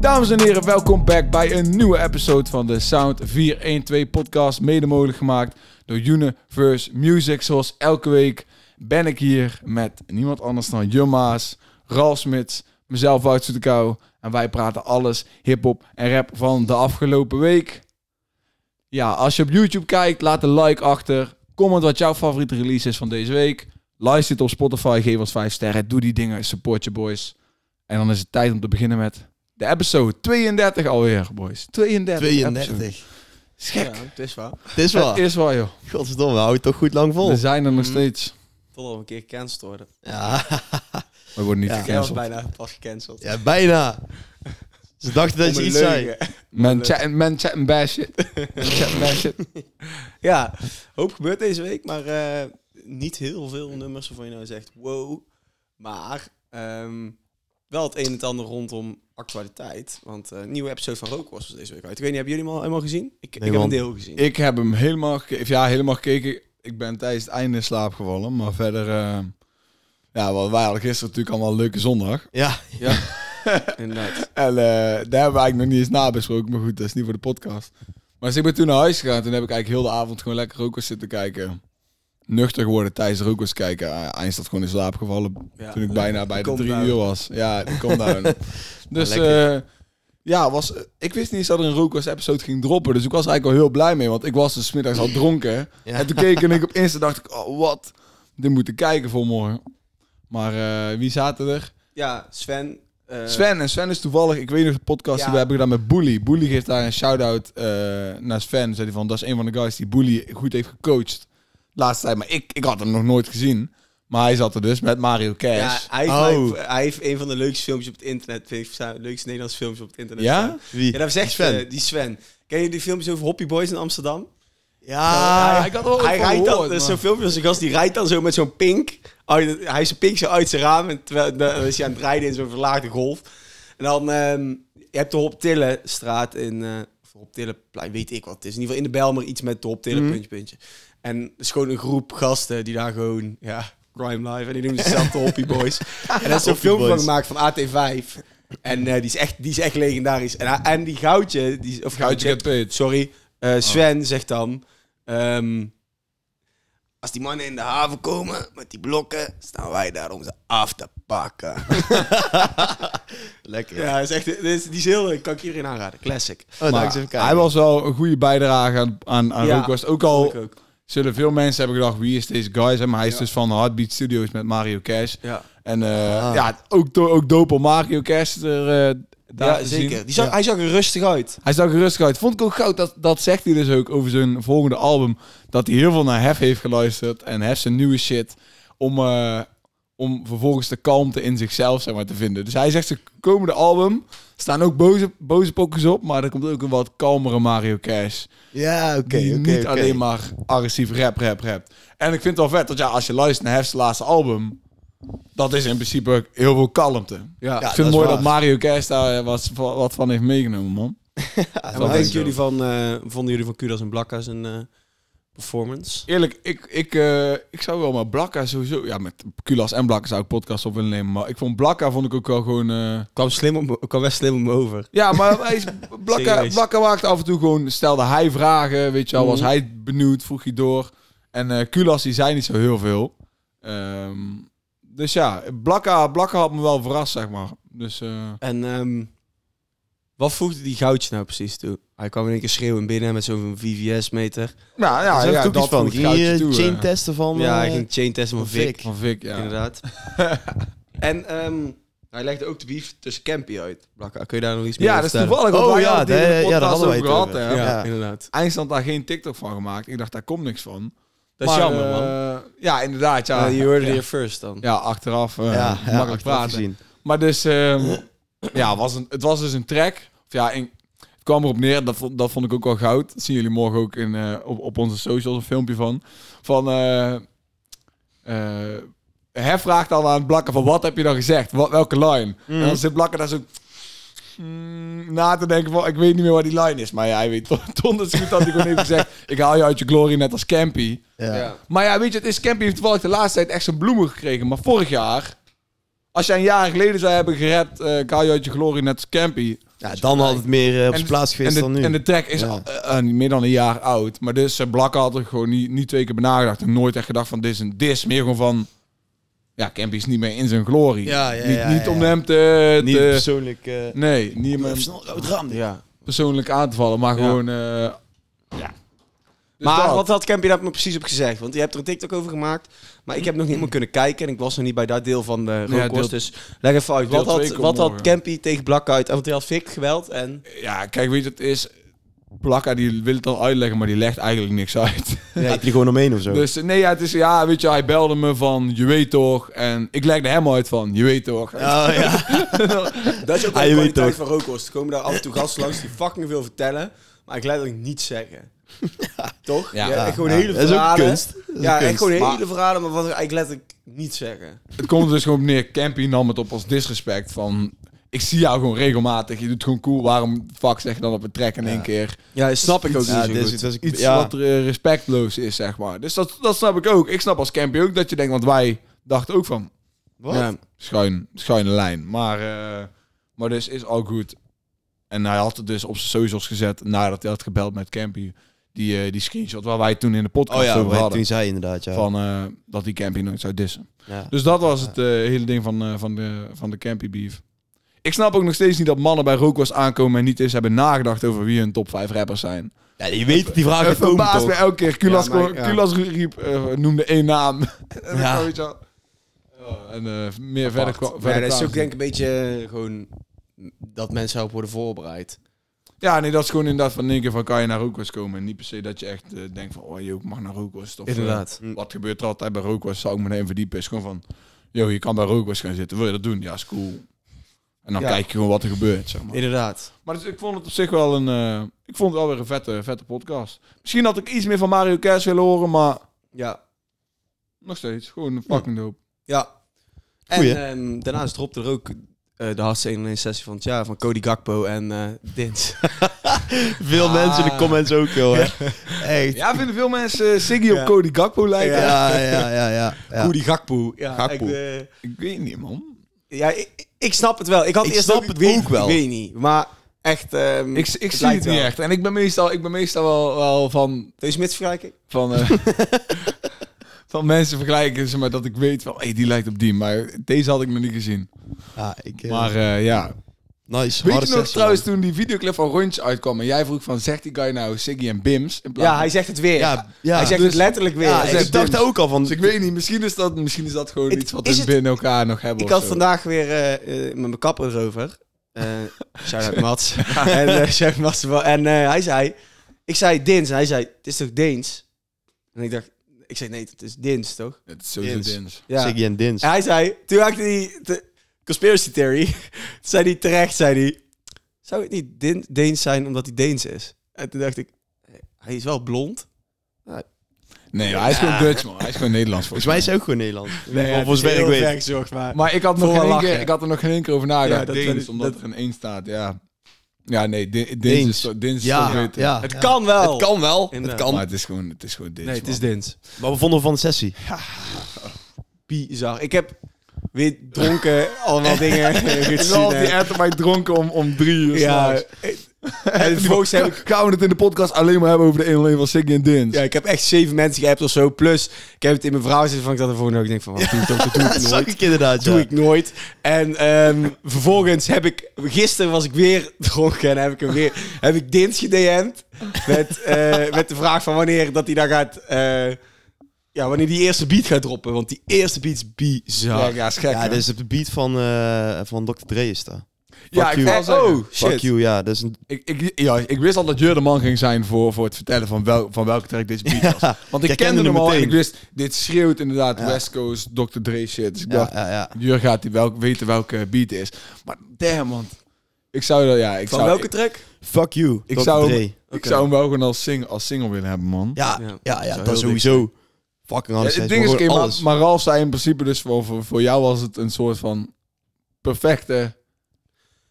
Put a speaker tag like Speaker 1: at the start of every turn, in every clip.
Speaker 1: Dames en heren, welkom back bij een nieuwe episode van de Sound 412 podcast. Mede mogelijk gemaakt door Universe Music. Zoals elke week ben ik hier met niemand anders dan Jumma's, Ralf Smits, mezelf Wout Soetekou. En wij praten alles hip-hop en rap van de afgelopen week. Ja, als je op YouTube kijkt, laat een like achter. Comment wat jouw favoriete release is van deze week. Luister het op Spotify, geef ons 5 sterren. Doe die dingen, support je boys. En dan is het tijd om te beginnen met de episode 32 alweer, boys. 32. episode.
Speaker 2: 32.
Speaker 1: Is gek.
Speaker 3: Ja, het is waar.
Speaker 2: Het is
Speaker 1: Het
Speaker 2: waar.
Speaker 1: is waar, joh.
Speaker 2: Godsdomme, hou je toch goed lang vol.
Speaker 1: We zijn er nog
Speaker 3: Mhm.
Speaker 1: steeds.
Speaker 3: Totdat we een keer gecanceld worden.
Speaker 2: Ja,
Speaker 1: We worden niet
Speaker 2: Ja.
Speaker 3: Jij was
Speaker 1: gecanceld.
Speaker 3: bijna pas gecanceld.
Speaker 2: ja, bijna. Ze dachten dat
Speaker 3: Om
Speaker 2: je
Speaker 3: een
Speaker 2: iets zei.
Speaker 3: leugen.
Speaker 1: Men chat, men chat en bash it. Men chat en bash it.
Speaker 3: Ja, hoop gebeurt deze week, maar eh, niet heel veel nummers waarvan je nou zegt wow. Maar ehm, wel het een en het ander rondom actualiteit. Want eh, een nieuwe episode van Rookwars was deze week uit. Ik weet niet, hebben jullie hem al helemaal gezien? Ik, ik
Speaker 2: Nee,
Speaker 3: heb een
Speaker 2: man.
Speaker 3: deel gezien.
Speaker 1: Ik heb hem helemaal, geke- ja, helemaal gekeken. Ik ben tijdens het einde in slaap gevallen. Maar verder, eh, ja, wat wij hadden gisteren natuurlijk allemaal een leuke zondag.
Speaker 2: Ja,
Speaker 3: Inderdaad.
Speaker 1: En eh, daar hebben we eigenlijk nog niet eens nabesproken. Maar goed, dat is niet voor de podcast. Maar dus ik ben toen naar huis gegaan. Toen heb ik eigenlijk heel de avond gewoon lekker rookers zitten kijken. Nuchter geworden tijdens rookers kijken. Eh, Eind staat gewoon in slaap gevallen.
Speaker 3: Ja.
Speaker 1: toen ik bijna bij de
Speaker 3: Calm
Speaker 1: drie
Speaker 3: down.
Speaker 1: uur was. Ja, kom down. dus
Speaker 2: Lekker.
Speaker 1: eh, ja, was, ik wist niet eens dat er een rookers episode ging droppen. Dus ik was eigenlijk al heel blij mee. Want ik was dus 's middags al dronken.
Speaker 2: Ja.
Speaker 1: En toen keek ik op Insta dacht ik, oh wat. Dit moet ik kijken voor morgen. Maar eh, wie zaten er?
Speaker 3: Ja, Sven. eh,
Speaker 1: Sven, en Sven is toevallig, ik weet nog de podcast die
Speaker 3: Ja.
Speaker 1: we hebben gedaan met Bully. Bully geeft daar een shout-out eh, naar Sven. Zei hij van, dat is een van de guys die Bully goed heeft gecoacht. Laatste tijd, maar ik, ik had hem nog nooit gezien. Maar hij zat er dus met Mario
Speaker 3: Ja,
Speaker 1: Cash.
Speaker 3: hij, heeft,
Speaker 2: Oh.
Speaker 3: hij, hij heeft een van de leukste filmpjes op het internet. Vind ik, staan, leukste Nederlandse filmpjes op het internet.
Speaker 1: Ja?
Speaker 3: staan.
Speaker 2: wie?
Speaker 3: Ja, dat zegt
Speaker 2: Sven.
Speaker 1: eh,
Speaker 3: Sven. die Sven. Ken je die filmpjes over Hoppy Boys in Amsterdam?
Speaker 2: ja,
Speaker 1: Oh, ik had er wel
Speaker 3: hij
Speaker 1: van
Speaker 3: rijdt dan,
Speaker 1: gehoord,
Speaker 3: dat is
Speaker 1: maar-
Speaker 3: zo'n filmpje als een gast, die rijdt dan zo met zo'n pink. uit- hij is een pink zo uit zijn raam, en terwijl, dan is hij aan het rijden in zo'n verlaagde golf. En dan, ehm, je hebt de Hop straat in, eh of Hop Tillenplein, weet ik wat het is. In ieder geval in de Bijlmer iets met de Hop Tillen,
Speaker 1: Mhm.
Speaker 3: puntje, puntje. En het is gewoon een groep gasten die daar gewoon, ja, crime life. En die noemen zichzelf de Hoppy Boys. En dat is zo'n
Speaker 2: Hoppy
Speaker 3: filmpje van
Speaker 2: Boys.
Speaker 3: gemaakt van AT5. En eh, die, is echt, die is echt legendarisch. En, hij- en die Goudje, die, is- of
Speaker 1: Goudje get paid.
Speaker 3: Sorry. Eh, Sven zegt dan... ehm, als die mannen in de haven komen met die blokken, staan wij daar om ze af te pakken.
Speaker 2: Lekker.
Speaker 3: Ja, dat is echt, dit is, die is heel leuk. Kan ik iedereen aanraden. Classic.
Speaker 2: Oh, nou,
Speaker 1: Maar
Speaker 2: eens even kijken.
Speaker 1: hij was wel een goede bijdrage aan, aan, aan
Speaker 3: Ja,
Speaker 1: Rookworst. Ook al
Speaker 3: Vond ik ook.
Speaker 1: zullen veel mensen hebben gedacht, wie is deze guy? Zeg Maar hij is dus van Heartbeat Studios met Mario Cash.
Speaker 3: Ja,
Speaker 1: En eh,
Speaker 2: Ah.
Speaker 1: ja, ook, do- ook dope om Mario Cash er, eh, daar
Speaker 3: ja
Speaker 1: te
Speaker 3: zeker.
Speaker 1: zien.
Speaker 3: Die zag,
Speaker 1: Ja.
Speaker 3: Hij zag er rustig uit.
Speaker 1: Hij zag er rustig uit. Vond ik ook goud, dat, dat zegt hij dus ook over zijn volgende album. Dat hij heel veel naar Hef heeft geluisterd en Hef zijn nieuwe shit. Om, eh, om vervolgens de kalmte in zichzelf zeg maar, te vinden. Dus hij zegt zijn komende album staan ook boze, boze pokers op. Maar er komt ook een wat kalmere Mario Cash.
Speaker 2: Ja, oké,
Speaker 1: die
Speaker 2: oké,
Speaker 1: niet
Speaker 2: oké.
Speaker 1: alleen maar agressief rap, rap, rap. En ik vind het wel vet, dat ja, als je luistert naar Hef's laatste album... Dat is in principe heel veel kalmte. Ja, ik
Speaker 2: dat
Speaker 1: vind het
Speaker 2: is
Speaker 1: mooi
Speaker 2: waar.
Speaker 1: dat Mario Cash daar eh, wat, wat van heeft meegenomen, man.
Speaker 2: Ja,
Speaker 3: En
Speaker 1: wel
Speaker 3: wat
Speaker 1: leuk
Speaker 3: denken
Speaker 1: zo.
Speaker 3: jullie van, eh, vonden jullie van Kudas en Blakka's een eh, performance?
Speaker 1: Eerlijk, ik, ik, eh, ik zou wel maar Blakka sowieso... Ja, met Kulas en Blakka zou ik podcast op willen nemen. Maar ik vond Blakka vond ik ook wel gewoon... eh,
Speaker 3: Kwam, slim om, kwam best slim om me over.
Speaker 1: ja, maar hij is, Blakka,
Speaker 3: Serieus.
Speaker 1: Blakka maakte af en toe gewoon... Stelde hij vragen, weet je wel. Was
Speaker 3: Mhm.
Speaker 1: hij benieuwd, vroeg hij door. En eh Kulas, die zei niet zo heel veel. Ehm, dus ja, Blakka, Blakka had me wel verrast, zeg maar. Dus eh,
Speaker 3: En ehm, wat voegde die goudje nou precies toe? Hij kwam in één keer schreeuwen binnen met zo'n VVS-meter.
Speaker 1: nou, ja,
Speaker 2: Daar
Speaker 1: ja,
Speaker 2: zag ik ook
Speaker 1: dat
Speaker 2: iets van.
Speaker 1: voegt
Speaker 2: Ging
Speaker 1: goudje
Speaker 2: je
Speaker 1: toe,
Speaker 2: chain
Speaker 1: eh.
Speaker 2: testen van...
Speaker 3: ja,
Speaker 2: eh,
Speaker 3: hij ging chain testen van
Speaker 2: van Vic.
Speaker 3: Vic.
Speaker 1: Van Vic, ja.
Speaker 3: Inderdaad. en ehm, hij legde ook de beef tussen Campy uit. Blakka, eh, kun je daar nog iets meer
Speaker 1: Ja, dat is
Speaker 3: over vertellen?
Speaker 1: toevallig. Want
Speaker 2: Oh
Speaker 1: wij
Speaker 2: ja,
Speaker 1: hadden het
Speaker 2: daar-
Speaker 1: in de
Speaker 2: ja, daar
Speaker 1: podcast
Speaker 2: hadden wij
Speaker 1: over
Speaker 2: het
Speaker 1: gehad,
Speaker 2: over.
Speaker 1: hè.
Speaker 2: Ja.
Speaker 3: Ja, inderdaad.
Speaker 1: Eindstand daar geen TikTok van gemaakt. Ik dacht, daar komt niks van.
Speaker 3: Dat is
Speaker 1: Maar,
Speaker 3: jammer, man.
Speaker 1: eh, ja, inderdaad. Ja,
Speaker 3: Ja, je hoorde
Speaker 1: ja.
Speaker 3: hier first dan.
Speaker 1: Ja, achteraf eh,
Speaker 2: ja, ja,
Speaker 1: makkelijk
Speaker 2: achteraf
Speaker 1: praten.
Speaker 2: gezien.
Speaker 1: Maar dus, ehm, ja, was een, het was dus een track. Of ja, in- het kwam erop neer, dat, vond- dat vond ik ook wel goud. Dat zien jullie morgen ook in, eh, op, op onze socials een filmpje van. Van, eh eh, hij vraagt dan aan Blakker van, wat heb je dan gezegd? Wat, welke line? En dan zit Blakker daar zo mm, na te denken van, ik weet niet meer waar die line is. Maar ja, hij weet toch donders goed dat hij gewoon heeft gezegd, ik haal je uit je glory net als Campy.
Speaker 2: Ja.
Speaker 1: Maar ja, weet je, het is Campy heeft toevallig de laatste tijd echt zijn bloemen gekregen. Maar vorig jaar, als jij een jaar geleden zou hebben gerapt, eh, ik haal je uit je glorie net als Campy.
Speaker 2: Ja, dan had het meer eh, op
Speaker 1: En-
Speaker 2: zijn plaats
Speaker 1: En
Speaker 2: geweest dan
Speaker 1: de,
Speaker 2: nu.
Speaker 1: en de track is
Speaker 2: Ja.
Speaker 1: al, eh, eh, meer dan een jaar oud. Maar dus eh, Blakke had er gewoon niet, niet twee keer benagedacht. En nooit echt gedacht van, dit is een dis. Meer gewoon van, ja, Campy is niet meer in zijn glorie.
Speaker 2: Ja, ja,
Speaker 1: niet
Speaker 2: ja,
Speaker 1: niet
Speaker 2: ja.
Speaker 1: om hem te...
Speaker 2: niet
Speaker 1: te-
Speaker 2: persoonlijk. eh,
Speaker 1: nee, niet om hem
Speaker 2: even snel uit het raam.
Speaker 3: Ja.
Speaker 1: persoonlijk aan te vallen. Maar
Speaker 3: Ja.
Speaker 1: gewoon... eh, ja. Dus
Speaker 3: maar
Speaker 1: dat.
Speaker 3: wat had Campy daar me precies op gezegd? Want je hebt er een TikTok over gemaakt. Maar ik heb nog niet helemaal kunnen kijken. En ik was nog niet bij dat deel van de
Speaker 1: Ja,
Speaker 3: rookkoers.
Speaker 1: deel-
Speaker 3: dus leg even uit.
Speaker 1: deel
Speaker 3: Wat had,
Speaker 1: twee komt
Speaker 3: wat had
Speaker 1: morgen.
Speaker 3: Campy tegen Blak uit? En Want hij had fikt geweld. En
Speaker 1: Ja, kijk, weet je, het is... Blakka die wil het al uitleggen, maar die legt eigenlijk niks uit.
Speaker 2: Ja, heb je er gewoon omheen of zo?
Speaker 1: Dus eh, nee, ja, het is, ja, weet je, hij belde me van, je weet toch. En ik legde hem uit van, je weet toch.
Speaker 2: Ja, ja.
Speaker 3: dat is
Speaker 2: Ah, je weet
Speaker 3: ook wel de kwaliteit
Speaker 2: ook.
Speaker 3: van rookkoers. Er komen daar af en toe gasten langs die fucking veel vertellen. Maar ik laat ook niets zeggen. Toch?
Speaker 1: Ja.
Speaker 3: Ja, echt gewoon
Speaker 2: ja.
Speaker 3: hele
Speaker 2: Dat is ook
Speaker 3: verhalen.
Speaker 2: kunst. Dat is
Speaker 3: Ja,
Speaker 2: kunst.
Speaker 3: echt gewoon
Speaker 1: Maar-
Speaker 3: hele verhalen. Maar wat ik eigenlijk letterlijk niet zeggen.
Speaker 1: Het komt er dus gewoon op neer. Campy nam het op als disrespect van... Ik zie jou gewoon regelmatig. Je doet gewoon cool. Waarom fuck zeg je dan op een track in één keer?
Speaker 3: Ja, snap ik ook
Speaker 2: Ja,
Speaker 3: niet
Speaker 2: dit
Speaker 3: zo
Speaker 2: is was
Speaker 3: goed.
Speaker 2: Dus ik-
Speaker 1: Iets
Speaker 2: ja.
Speaker 1: wat eh, respectloos is, zeg maar. Dus dat, dat snap ik ook. Ik snap als Campy ook dat je denkt... Want wij dachten ook van...
Speaker 2: Wat?
Speaker 3: Ja.
Speaker 1: Schuin, schuine lijn. Maar, eh, maar dus is al goed. En hij had het dus op zijn socials gezet... nadat hij had gebeld met Campy. Die, eh, die screenshot waar wij toen in de podcast
Speaker 2: Oh ja,
Speaker 1: over
Speaker 2: wat
Speaker 1: hadden.
Speaker 2: toen zei je inderdaad, ja.
Speaker 1: Van eh, dat die Campy nooit zou dissen.
Speaker 2: ja.
Speaker 1: Dus dat was het eh, hele ding van, eh, van, de, van de Campy Beef. Ik snap ook nog steeds niet dat mannen bij Rookwas aankomen en niet eens hebben nagedacht over wie hun top 5 rappers zijn.
Speaker 2: Ja, je weet dat die vragen
Speaker 1: Het
Speaker 2: komen
Speaker 1: verbaast
Speaker 2: toch?
Speaker 1: me elke keer. Kulas,
Speaker 3: Ja, maar-
Speaker 1: kon-
Speaker 3: ja.
Speaker 1: Kulas riep, eh, noemde één naam. en
Speaker 2: Ja.
Speaker 1: ja. Weet je wel. Ja, en eh, meer verder, kwa- verder
Speaker 3: ja, dat is
Speaker 1: kwamen
Speaker 3: ook
Speaker 1: ze
Speaker 3: denk ik een beetje eh, gewoon dat mensen erop worden voorbereid.
Speaker 1: niet. ja, nee, dat is gewoon inderdaad van in één keer van kan je naar Rookwas komen. En niet per se dat je echt eh, denkt van, oh, je mag naar Rookwas. Of, eh,
Speaker 2: Mm.
Speaker 1: wat gebeurt er altijd bij Rookwas? Zou ik me even verdiepen. Is gewoon van, joh, je kan bij Rookwas gaan zitten. Wil je dat doen? Ja, is cool. En dan
Speaker 3: Ja.
Speaker 1: kijk je gewoon wat er gebeurt, zeg maar.
Speaker 3: Inderdaad.
Speaker 1: Maar dus ik vond het op zich wel een... eh, ik vond het wel weer een vette, vette podcast. Misschien had ik iets meer van Mario Kers willen horen, maar
Speaker 3: Ja.
Speaker 1: nog steeds. Gewoon een fucking dope.
Speaker 3: ja. En
Speaker 2: Goeie.
Speaker 3: ehm, daarnaast dropte er ook eh, de hardste 1 sessie van het jaar van Cody Gakpo en eh Dins.
Speaker 2: Veel mensen in de comments ook, joh. hè. Ah. Echt.
Speaker 1: Ja, vinden veel mensen eh, Siggy
Speaker 3: Ja.
Speaker 1: op Cody Gakpo lijken?
Speaker 2: Ja, ja, ja, ja. ja.
Speaker 3: Cody Gakpo. Ja,
Speaker 2: Gakpo.
Speaker 3: Ik, eh,
Speaker 1: Ik weet niet, man.
Speaker 3: ja ik, ik snap het wel. Ik had
Speaker 2: Ik
Speaker 3: eerst
Speaker 2: snap
Speaker 3: ook,
Speaker 2: het
Speaker 3: ik weet,
Speaker 2: ook wel.
Speaker 3: Ik weet niet. Maar echt... ehm
Speaker 1: Ik, ik zie
Speaker 3: lijkt
Speaker 1: het niet
Speaker 3: wel.
Speaker 1: echt. En ik ben meestal, ik ben meestal wel, wel van...
Speaker 3: Deze mitsvergelijking?
Speaker 1: Van, eh, van mensen vergelijken ze maar dat ik weet van... hey, die lijkt op die, maar deze had ik nog niet gezien.
Speaker 2: ja ik, eh,
Speaker 1: Maar eh, ja.
Speaker 2: nice.
Speaker 1: Weet
Speaker 2: harde
Speaker 1: je nog
Speaker 2: sessie,
Speaker 1: trouwens
Speaker 2: man.
Speaker 1: toen die videoclip van Rondje uitkwam... en jij vroeg van, zegt die guy nou Siggy en Bims? In plaats
Speaker 3: Ja,
Speaker 1: van
Speaker 3: hij zegt het weer.
Speaker 2: Ja, ja.
Speaker 3: Hij zegt
Speaker 1: Dus-
Speaker 3: het letterlijk weer.
Speaker 2: Ja,
Speaker 3: Hij zegt
Speaker 2: ik dacht
Speaker 3: Dins.
Speaker 2: ook al van...
Speaker 1: Dus ik weet niet, misschien is dat, misschien is dat gewoon
Speaker 3: Het-
Speaker 1: iets wat
Speaker 3: is
Speaker 1: we
Speaker 3: het-
Speaker 1: binnen elkaar nog hebben.
Speaker 3: Ik
Speaker 1: of
Speaker 3: had
Speaker 1: zo.
Speaker 3: vandaag weer eh, eh, met mijn kapper erover. Eh shout-out Mats. en eh, shout-out Mats. wel. En eh, hij zei... Ik zei Dins. En hij zei, het is toch Deens? En ik dacht... Ik zei, nee, het is Dins, toch?
Speaker 1: Het is sowieso
Speaker 2: Dins.
Speaker 1: dins.
Speaker 3: Ja.
Speaker 2: Siggy en Dins.
Speaker 3: En hij zei... Toen maakte hij... de conspiracy theory. Toen zei hij terecht, zei hij... Zou het niet Din- Deens zijn omdat hij Deens is? En toen dacht ik... Hij is wel blond.
Speaker 1: Nee, hij is gewoon Dutch, man. Hij is gewoon Nederlands,
Speaker 2: Volgens
Speaker 1: volgens
Speaker 2: mij is hij ook gewoon Nederlands. Nee,
Speaker 3: Ja, het
Speaker 2: volgens
Speaker 3: is
Speaker 2: mij ik
Speaker 3: heel
Speaker 2: weet.
Speaker 3: ver gezocht, maar...
Speaker 1: Maar ik had, nog
Speaker 3: Voor
Speaker 1: geen één
Speaker 3: lachen.
Speaker 1: keer, ik had er nog geen één keer over nagedacht.
Speaker 3: Ja, dat
Speaker 1: Deens,
Speaker 3: weet ik-
Speaker 1: omdat
Speaker 3: dat-
Speaker 1: er een één staat, ja. Ja, nee, Di- Deens,
Speaker 2: Deens.
Speaker 1: is toch- Deens is toch
Speaker 2: Ja,
Speaker 1: beter.
Speaker 2: ja.
Speaker 3: het kan wel.
Speaker 2: Het kan wel. Het
Speaker 3: Inderdaad.
Speaker 2: kan.
Speaker 1: Maar het is gewoon, het is gewoon Deens,
Speaker 3: Nee, het
Speaker 1: man.
Speaker 3: is Dins.
Speaker 2: Maar we vonden van de sessie.
Speaker 3: bizar. Ik heb weer dronken allemaal dingen
Speaker 1: Het is al
Speaker 3: gezien.
Speaker 1: die
Speaker 3: hè.
Speaker 1: etter mij dronken om, om drie uur
Speaker 3: Ja,
Speaker 1: ja.
Speaker 3: en vervolgens heb ik,
Speaker 1: Gaan we het in de podcast alleen maar hebben over de 1-1 van Siggy en Dins?
Speaker 3: ja, ik heb echt zeven mensen geappt of zo. Plus, ik heb het in mijn verhaal zitten van ik dat ervoor nog. Ik denk van, wat doe ik toch? Dat doe
Speaker 2: Dat
Speaker 3: ik
Speaker 2: zag
Speaker 3: nooit.
Speaker 2: ik inderdaad,
Speaker 3: Dat doe
Speaker 2: ja.
Speaker 3: ik nooit. En ehm, vervolgens heb ik... Gisteren was ik weer dronken en heb ik, hem weer, heb ik Dins gedm'd. Met, eh, met de vraag van wanneer dat hij daar gaat... eh, ja, wanneer die eerste beat gaat droppen. Want die eerste beat is bizar.
Speaker 1: ja, is gek,
Speaker 2: Ja,
Speaker 1: hè?
Speaker 2: dit is op de beat van, eh, van Dr. Dre is dat.
Speaker 1: ja,
Speaker 2: fuck
Speaker 1: ik
Speaker 2: you.
Speaker 1: wou zeggen.
Speaker 3: Oh, shit.
Speaker 2: Fuck you, ja. Dat is een...
Speaker 1: Ik, ik, ja, ik wist al dat Jur de man ging zijn voor, voor het vertellen van, wel, van welke track deze beat was.
Speaker 2: Ja,
Speaker 1: Want ik
Speaker 2: jij
Speaker 1: kende hem al en ik wist, dit schreeuwt inderdaad
Speaker 2: Ja.
Speaker 1: West Coast, Dr. Dre shit. Dus ik
Speaker 2: Ja,
Speaker 1: dacht,
Speaker 2: ja, ja.
Speaker 1: Jur gaat die welk, weten welke beat het is. Maar damn, man. Ik zou, dat- ja, ik
Speaker 3: Van
Speaker 1: zou,
Speaker 3: welke
Speaker 1: ik,
Speaker 3: track?
Speaker 2: Fuck you,
Speaker 1: Ik
Speaker 2: Dr.
Speaker 1: zou hem-
Speaker 2: Dre.
Speaker 1: ik
Speaker 3: Oké.
Speaker 1: zou hem wel gewoon als, sing, als single willen hebben, man.
Speaker 2: Ja,
Speaker 3: Ja.
Speaker 2: ja, ja,
Speaker 3: Zou
Speaker 2: dat
Speaker 3: heel dik
Speaker 2: sowieso. Fucking
Speaker 1: Ja,
Speaker 2: anders.
Speaker 1: het ding is, oké, maar,
Speaker 2: alles.
Speaker 1: maar Ralf zei in principe dus, voor, voor, voor jou was het een soort van perfecte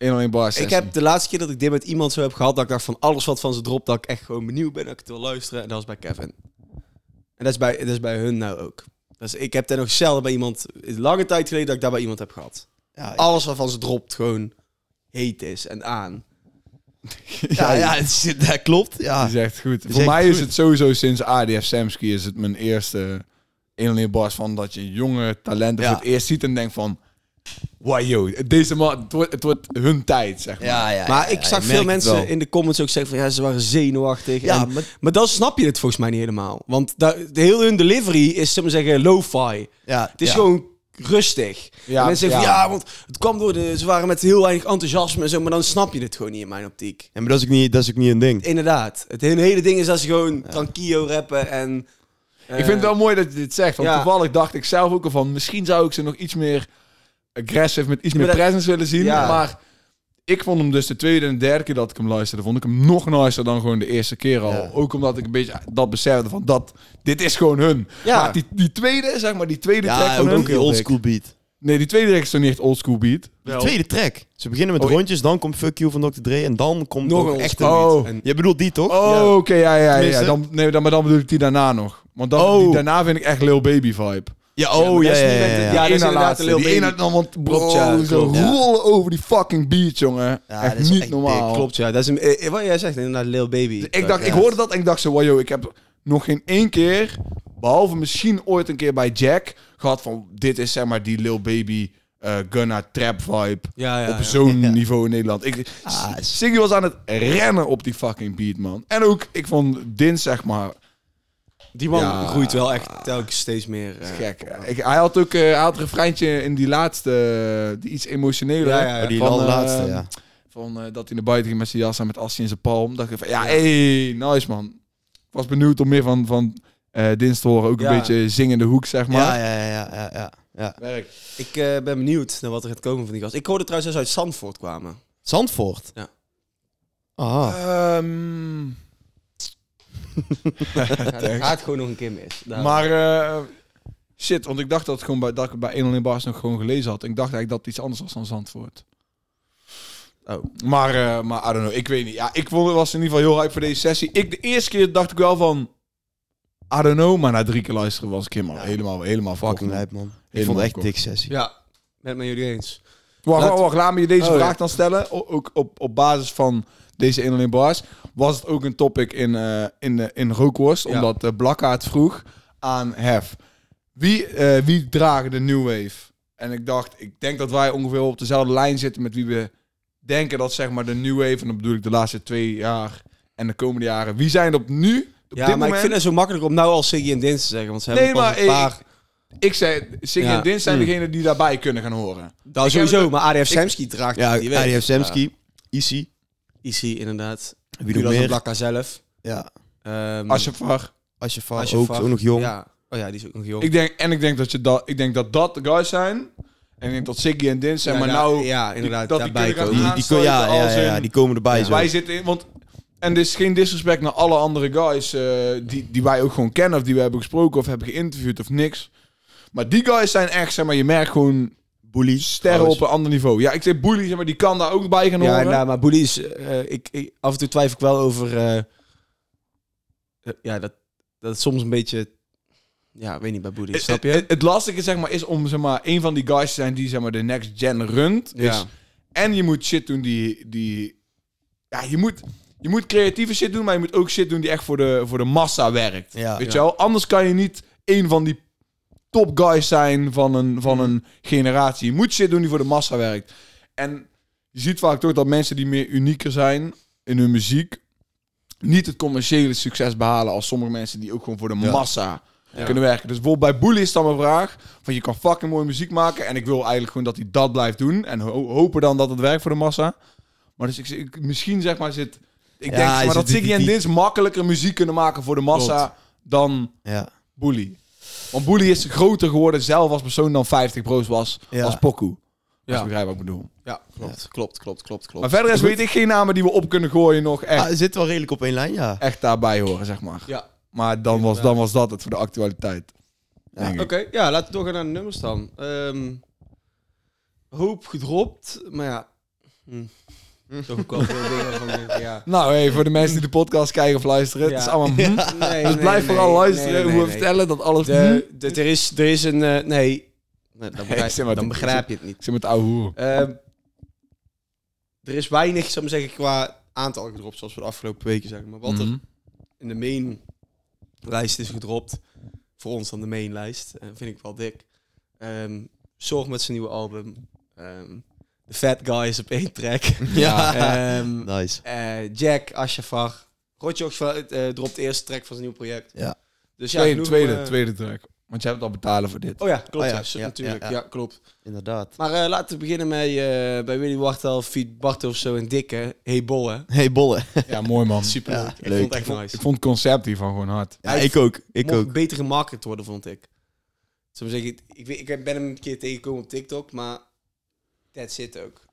Speaker 1: 1-1 bar sessie.
Speaker 3: Ik heb de laatste keer dat ik dit met iemand zo heb gehad, dat ik dacht van alles wat van ze dropt, dat ik echt gewoon benieuwd ben, dat ik het wil luisteren. En dat was bij Kevin. En dat is bij, dat is bij hun nou ook. Dus ik heb daar nog zelden bij iemand, lange tijd geleden, dat ik daar bij iemand heb gehad.
Speaker 2: Ja,
Speaker 3: Alles wat van ze dropt gewoon heet is en aan.
Speaker 2: Ja, ja, het is- dat klopt. Ja.
Speaker 1: Die is echt goed.
Speaker 2: is
Speaker 1: Voor
Speaker 2: echt
Speaker 1: mij is
Speaker 2: goed.
Speaker 1: het sowieso sinds ADF Samski is het mijn eerste alien bars van dat je jonge talenten
Speaker 2: Ja.
Speaker 1: voor het eerst ziet en denkt van, wow, yo, deze man, het wordt, het wordt hun tijd, zeg maar.
Speaker 2: Ja, ja, ja,
Speaker 3: Maar ik
Speaker 2: ja,
Speaker 3: zag
Speaker 2: je
Speaker 3: veel
Speaker 2: merkt het wel.
Speaker 3: mensen in de comments ook zeggen van ja, ze waren zenuwachtig.
Speaker 2: Ja,
Speaker 3: en, maar,
Speaker 2: maar-
Speaker 3: dan snap je het volgens mij niet helemaal. Want da- de heel hun delivery is, zullen we zeggen, lo-fi.
Speaker 2: Ja,
Speaker 3: Het is
Speaker 2: ja.
Speaker 3: gewoon rustig.
Speaker 1: Ja,
Speaker 3: En mensen zeggen
Speaker 1: ja.
Speaker 3: van ja, want het kwam door de... Ze waren met heel weinig enthousiasme en zo, maar dan snap je het gewoon niet in mijn optiek.
Speaker 2: Ja, maar dat is ook niet, dat is ook niet een ding.
Speaker 3: Inderdaad. Het hun hele ding is dat ze gewoon tranquillo rappen en...
Speaker 1: Ik vind het wel mooi dat je dit zegt, want
Speaker 3: ja.
Speaker 1: toevallig dacht ik zelf ook al van, misschien zou ik ze nog iets meer aggressive, met iets
Speaker 3: Ja,
Speaker 1: meer
Speaker 3: maar dat-
Speaker 1: presence willen zien,
Speaker 3: Ja.
Speaker 1: maar ik vond hem dus de tweede en derde keer dat ik hem luisterde, vond ik hem nog nicer dan gewoon de eerste keer al.
Speaker 2: Ja.
Speaker 1: Ook omdat ik een beetje dat besefte van, dat, dit is gewoon hun.
Speaker 3: Ja.
Speaker 1: Maar die, die tweede, zeg maar, die tweede track
Speaker 2: Ja,
Speaker 1: van
Speaker 2: ook,
Speaker 1: hun,
Speaker 2: ook die oldschool beat.
Speaker 1: Nee, die tweede track is toch niet echt oldschool beat?
Speaker 2: De tweede track. Ze beginnen met
Speaker 1: Oh,
Speaker 2: rondjes, dan komt Fuck You van Dr. Dre en dan komt
Speaker 3: eh, Nog
Speaker 2: nog
Speaker 3: een
Speaker 2: een echte
Speaker 1: oldschool
Speaker 2: beat.
Speaker 1: beat.
Speaker 2: En- Je bedoelt die toch?
Speaker 1: Oh, oké, ja, ja, ja.
Speaker 2: Tenminste.
Speaker 1: Dan, nee, dan, maar dan bedoel ik die daarna nog. Want dan, die
Speaker 2: Oh.
Speaker 1: daarna vind ik echt Lil Baby vibe.
Speaker 2: Ja,
Speaker 3: maar
Speaker 2: oh ja,
Speaker 3: dat is
Speaker 2: ja,
Speaker 3: niet met
Speaker 2: ja,
Speaker 3: de-
Speaker 2: ja.
Speaker 3: ja.
Speaker 1: Die
Speaker 3: dat is
Speaker 1: ene
Speaker 3: inderdaad
Speaker 1: laatste,
Speaker 3: de Lil
Speaker 1: die
Speaker 3: Baby.
Speaker 1: ene dan, want bro,
Speaker 3: Klopt, ja,
Speaker 1: ze
Speaker 3: klopt,
Speaker 2: ja.
Speaker 1: rollen over die fucking beat, jongen.
Speaker 2: Ja,
Speaker 1: echt
Speaker 2: dat is
Speaker 1: niet
Speaker 2: echt
Speaker 1: normaal.
Speaker 2: dik,
Speaker 3: Klopt, ja. Dat is een, eh, eh, wat jij zegt, inderdaad, Lil Baby.
Speaker 1: Ik, dacht, ik hoorde dat en ik dacht zo, wow, yo, ik heb nog geen één keer, behalve misschien ooit een keer bij Jack, gehad van dit is zeg maar die Lil Baby eh Gunna trap vibe.
Speaker 3: Ja, ja,
Speaker 1: op
Speaker 3: ja.
Speaker 1: zo'n niveau in Nederland. Ik,
Speaker 2: Ah, is-
Speaker 1: Siggy was aan het rennen op die fucking beat, man. En ook, ik vond Din, zeg maar,
Speaker 3: Die man
Speaker 1: Ja.
Speaker 3: groeit wel echt telkens steeds meer. eh,
Speaker 1: gek. Ik, hij had ook eh, hij had een refreintje in die laatste, eh, die iets emotioneler.
Speaker 3: Ja, ja, ja.
Speaker 2: Oh, die
Speaker 1: Van, eh,
Speaker 2: laatste, ja.
Speaker 1: Van eh, dat hij naar buiten ging met zijn jas en met Assie in zijn palm. Dacht ik van, ja, hey, nice man. Ik was benieuwd om meer van, van eh Dins te horen. Ook
Speaker 3: Ja.
Speaker 1: een beetje zingende hoek, zeg maar.
Speaker 2: Ja, ja, ja, ja, ja, ja.
Speaker 1: Werk.
Speaker 3: Ik eh, ben benieuwd naar wat er gaat komen van die gast. Ik hoorde trouwens dat ze uit Zandvoort kwamen.
Speaker 2: Zandvoort?
Speaker 3: Ja.
Speaker 2: Ah.
Speaker 1: Ehm,
Speaker 3: Het gaat gewoon nog een keer mis. Daarom.
Speaker 1: maar eh, shit, want ik dacht dat, het gewoon bij, dat ik het bij 1 in Bars nog gewoon gelezen had. Ik dacht eigenlijk dat het iets anders was dan Zandvoort.
Speaker 3: Oh.
Speaker 1: Maar, eh, maar I don't know, ik weet niet. Ja, ik vond, was in ieder geval heel hype voor deze sessie. Ik, de eerste keer dacht ik wel van... I don't know, maar na drie keer luisteren was ik helemaal, helemaal, helemaal
Speaker 2: Fucking
Speaker 1: verkocht.
Speaker 2: lijp, man. Ik
Speaker 1: Helemaal
Speaker 2: vond het echt
Speaker 1: kort.
Speaker 2: dik sessie.
Speaker 3: Ja, ben het met jullie eens.
Speaker 1: Wacht,
Speaker 3: Laat-
Speaker 1: wacht, wacht, laat me je deze
Speaker 3: Oh,
Speaker 1: vraag
Speaker 3: ja.
Speaker 1: dan stellen. O- ook op, op basis van deze 1 in Bars. Was het ook een topic in, eh in, eh, in Rookworst?
Speaker 3: Ja.
Speaker 1: Omdat eh, Blakkaard vroeg aan Hef. Wie, eh, wie dragen de New Wave? En ik dacht, ik denk dat wij ongeveer op dezelfde lijn zitten met wie we denken dat zeg maar de New Wave, en dan bedoel ik de laatste twee jaar en de komende jaren. Wie zijn op nu, op dit
Speaker 3: Ja, maar
Speaker 1: moment?
Speaker 3: ik vind het zo makkelijk om nou al Siggy en Dins te zeggen. Want ze
Speaker 1: Nee,
Speaker 3: hebben pas
Speaker 1: maar
Speaker 3: een paar...
Speaker 1: Ik zei, Sing
Speaker 3: Ja.
Speaker 1: en Dins zijn
Speaker 3: Mm.
Speaker 1: degenen die daarbij kunnen gaan horen.
Speaker 3: Nou,
Speaker 1: Ik
Speaker 3: sowieso,
Speaker 1: heb het-
Speaker 3: maar ADF Semski draagt
Speaker 2: Ja,
Speaker 3: die weg.
Speaker 2: IDF Semski, Isi,
Speaker 3: IC, inderdaad.
Speaker 2: wie nog
Speaker 3: Judas en
Speaker 2: meer?
Speaker 3: Blakka zelf.
Speaker 2: Ja,
Speaker 3: Ehm,
Speaker 1: Asjafar.
Speaker 2: Asjefar,
Speaker 3: Asjefar.
Speaker 2: ook, ook nog jong.
Speaker 3: Ja. Oh ja, die is ook nog jong.
Speaker 1: Ik denk, en ik denk, dat je dat, ik denk dat dat de guys zijn. En ik denk dat Siggy en Dins zijn.
Speaker 3: Ja,
Speaker 1: maar
Speaker 3: daar-
Speaker 1: nou,
Speaker 3: Ja, inderdaad,
Speaker 1: dat die
Speaker 3: daarbij
Speaker 1: kunnen gaan
Speaker 3: komen.
Speaker 2: Die, die, ja, ja, ja, ja, die komen erbij zo.
Speaker 1: wij zitten in... Want, en dit is geen disrespect naar alle andere guys eh, die, die wij ook gewoon kennen. Of die we hebben gesproken of hebben geïnterviewd of niks. Maar die guys zijn echt, zeg maar, je merkt gewoon
Speaker 2: Bully.
Speaker 1: sterren op een ander niveau. Ja, ik zeg Boelie, zeg maar, die kan daar ook bij gaan
Speaker 3: Ja,
Speaker 1: horen.
Speaker 3: nou, maar Boelie is... eh, ik, ik, af en toe twijfel ik wel over... eh, eh, ja, dat, dat is soms een beetje... Ja, weet niet, bij Boelie,
Speaker 1: Het-
Speaker 3: snap je?
Speaker 1: Het, Eh, het lastige zeg maar, is om zeg maar, een van die guys te zijn die zeg maar, de next gen runt. Dus
Speaker 3: Ja.
Speaker 1: En je moet shit doen die... die ja, je moet, je moet creatieve shit doen, maar je moet ook shit doen die echt voor de, voor de massa werkt.
Speaker 2: Ja.
Speaker 1: Weet je wel? Anders kan je niet een van die top guys zijn van een, van
Speaker 3: Hmm.
Speaker 1: een generatie. Je moet shit doen die voor de massa werkt. En je ziet vaak toch dat mensen die meer unieker zijn in hun muziek... niet het commerciële succes behalen als sommige mensen die ook gewoon voor de
Speaker 2: Ja.
Speaker 1: massa kunnen werken. Dus bijvoorbeeld bij Boelie is dan mijn vraag... van je kan fucking mooie muziek maken... en ik wil eigenlijk gewoon dat hij dat blijft doen... en ho- hopen dan dat het werkt voor de massa. Maar dus ik, ik- misschien zeg maar zit... Ik
Speaker 2: Ja,
Speaker 1: denk zeg maar,
Speaker 2: is
Speaker 1: dat
Speaker 2: het die-
Speaker 1: Ziggy en
Speaker 2: die-
Speaker 1: Dins makkelijker muziek kunnen maken voor de massa...
Speaker 3: Klopt.
Speaker 1: dan
Speaker 2: Ja.
Speaker 1: Boelie. Want Boelie is groter geworden zelf als persoon dan 50 broos was
Speaker 2: Ja.
Speaker 1: als Poku.
Speaker 3: eh, Ja.
Speaker 1: Als je begrijpt wat ik bedoel.
Speaker 3: Ja, klopt, klopt, klopt, klopt, klopt.
Speaker 1: Maar verder is, weet ik geen namen die we op kunnen gooien nog echt,
Speaker 2: Ah, zit wel redelijk op één lijn, ja.
Speaker 1: echt daarbij horen, zeg maar.
Speaker 3: ja,
Speaker 1: Maar dan was, dan was dat het voor de actualiteit. denk ik.
Speaker 3: oké. Ja, laten we doorgaan naar de nummers dan. Ehm, hoop gedropt, maar ja. Hm. Toch ook wel veel dingen van denk ik, ja.
Speaker 1: Nou, hey, voor de mensen die de podcast kijken of luisteren, het
Speaker 3: Ja.
Speaker 1: is allemaal... hm.
Speaker 3: Nee,
Speaker 1: Dus
Speaker 3: nee,
Speaker 1: blijf
Speaker 3: nee,
Speaker 1: vooral luisteren
Speaker 3: nee, nee,
Speaker 1: hoe we
Speaker 3: nee.
Speaker 1: vertellen dat alles...
Speaker 3: De,
Speaker 1: hm.
Speaker 3: de- er, is, er is een... eh, nee, Nee, dan
Speaker 1: ik
Speaker 3: begrijp,
Speaker 1: zeg maar,
Speaker 3: dan
Speaker 1: dat-
Speaker 3: begrijp je het niet.
Speaker 1: Ik zit met ouwe hoeren.
Speaker 3: Ehm, er is weinig, zou ik maar zeggen, qua aantal gedropt, zoals we de afgelopen weken zeggen. Maar wat er
Speaker 1: Mhm.
Speaker 3: in de mainlijst is gedropt. Voor ons dan de mainlijst. Eh vind ik wel dik. Ehm Zorg met zijn nieuwe album. Ehm The Fat Guys op één track.
Speaker 2: Ja.
Speaker 3: Ehm,
Speaker 2: Nice.
Speaker 3: eh, Jack, Ashafar. Rotjoch eh dropt de eerste track van zijn nieuwe project.
Speaker 2: Ja.
Speaker 3: Dus ja,
Speaker 1: Tweede,
Speaker 3: genoeg,
Speaker 1: tweede,
Speaker 3: eh,
Speaker 1: tweede track. Want jij hebt al betalen voor dit.
Speaker 3: Oh ja, klopt.
Speaker 2: Oh ja,
Speaker 3: ja, zo-
Speaker 2: ja,
Speaker 3: natuurlijk.
Speaker 2: ja,
Speaker 3: Ja,
Speaker 2: ja.
Speaker 3: klopt.
Speaker 2: Inderdaad.
Speaker 3: Maar eh, laten we beginnen met, eh, bij Willy Wartel, Fiet Bart of zo en Dikke. Hey Bolle.
Speaker 2: Hey, Bolle.
Speaker 1: Ja, mooi man.
Speaker 3: Super
Speaker 2: Ja,
Speaker 3: Ik
Speaker 2: leuk.
Speaker 3: vond het echt nice.
Speaker 1: Ik vond het concept hiervan gewoon hard.
Speaker 2: Ja, ik ook. Ik
Speaker 3: mocht
Speaker 2: ook.
Speaker 3: beter gemarket worden, vond ik. Zou maar zeggen, ik, weet- ik ben hem een keer tegengekomen op TikTok, maar dat zit ook.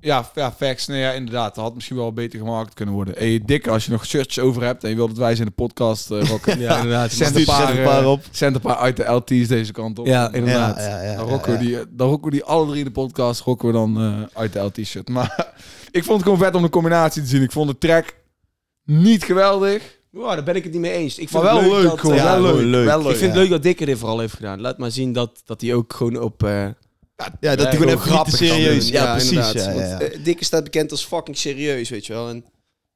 Speaker 1: Ja, f- ja facts. Nee, ja, inderdaad. Dat had misschien wel beter gemaakt kunnen worden. Hey, Dick, als je nog shirts over hebt en je wilt dat wij ze in de podcast eh rocken.
Speaker 3: Ja, inderdaad.
Speaker 1: Zend een
Speaker 2: Stuur-
Speaker 1: paar,
Speaker 2: zet een paar
Speaker 1: eh,
Speaker 2: op.
Speaker 1: Zend een paar uit de LT's deze kant op.
Speaker 3: Ja, inderdaad.
Speaker 2: Ja, ja, ja,
Speaker 1: Dan
Speaker 2: ja,
Speaker 1: rocken,
Speaker 2: ja.
Speaker 1: We die, eh, dan rocken we die alle drie in de podcast rocken we dan eh, uit de LT-shirt. Maar ik vond het gewoon vet om de combinatie te zien. Ik vond de track niet geweldig.
Speaker 3: Wow, daar ben ik het niet mee eens. Ik
Speaker 1: Maar
Speaker 3: vind
Speaker 1: wel
Speaker 3: het
Speaker 1: leuk,
Speaker 3: dat,
Speaker 1: gewoon.
Speaker 3: eh,
Speaker 2: ja,
Speaker 1: wel leuk.
Speaker 2: gewoon leuk.
Speaker 1: Wel
Speaker 3: Ik vind het leuk dat Dikke dit vooral heeft gedaan. Laat maar zien dat, dat hij ook gewoon op... eh,
Speaker 2: Ja, dat
Speaker 1: Ja,
Speaker 2: doe gewoon
Speaker 1: heel
Speaker 2: even niet te
Speaker 1: grappig kan
Speaker 2: serieus.
Speaker 1: doen.
Speaker 2: Ja, precies. Ja,
Speaker 3: inderdaad.
Speaker 2: ja,
Speaker 3: Want,
Speaker 2: ja.
Speaker 3: eh, Dikke staat bekend als fucking serieus, weet je wel. En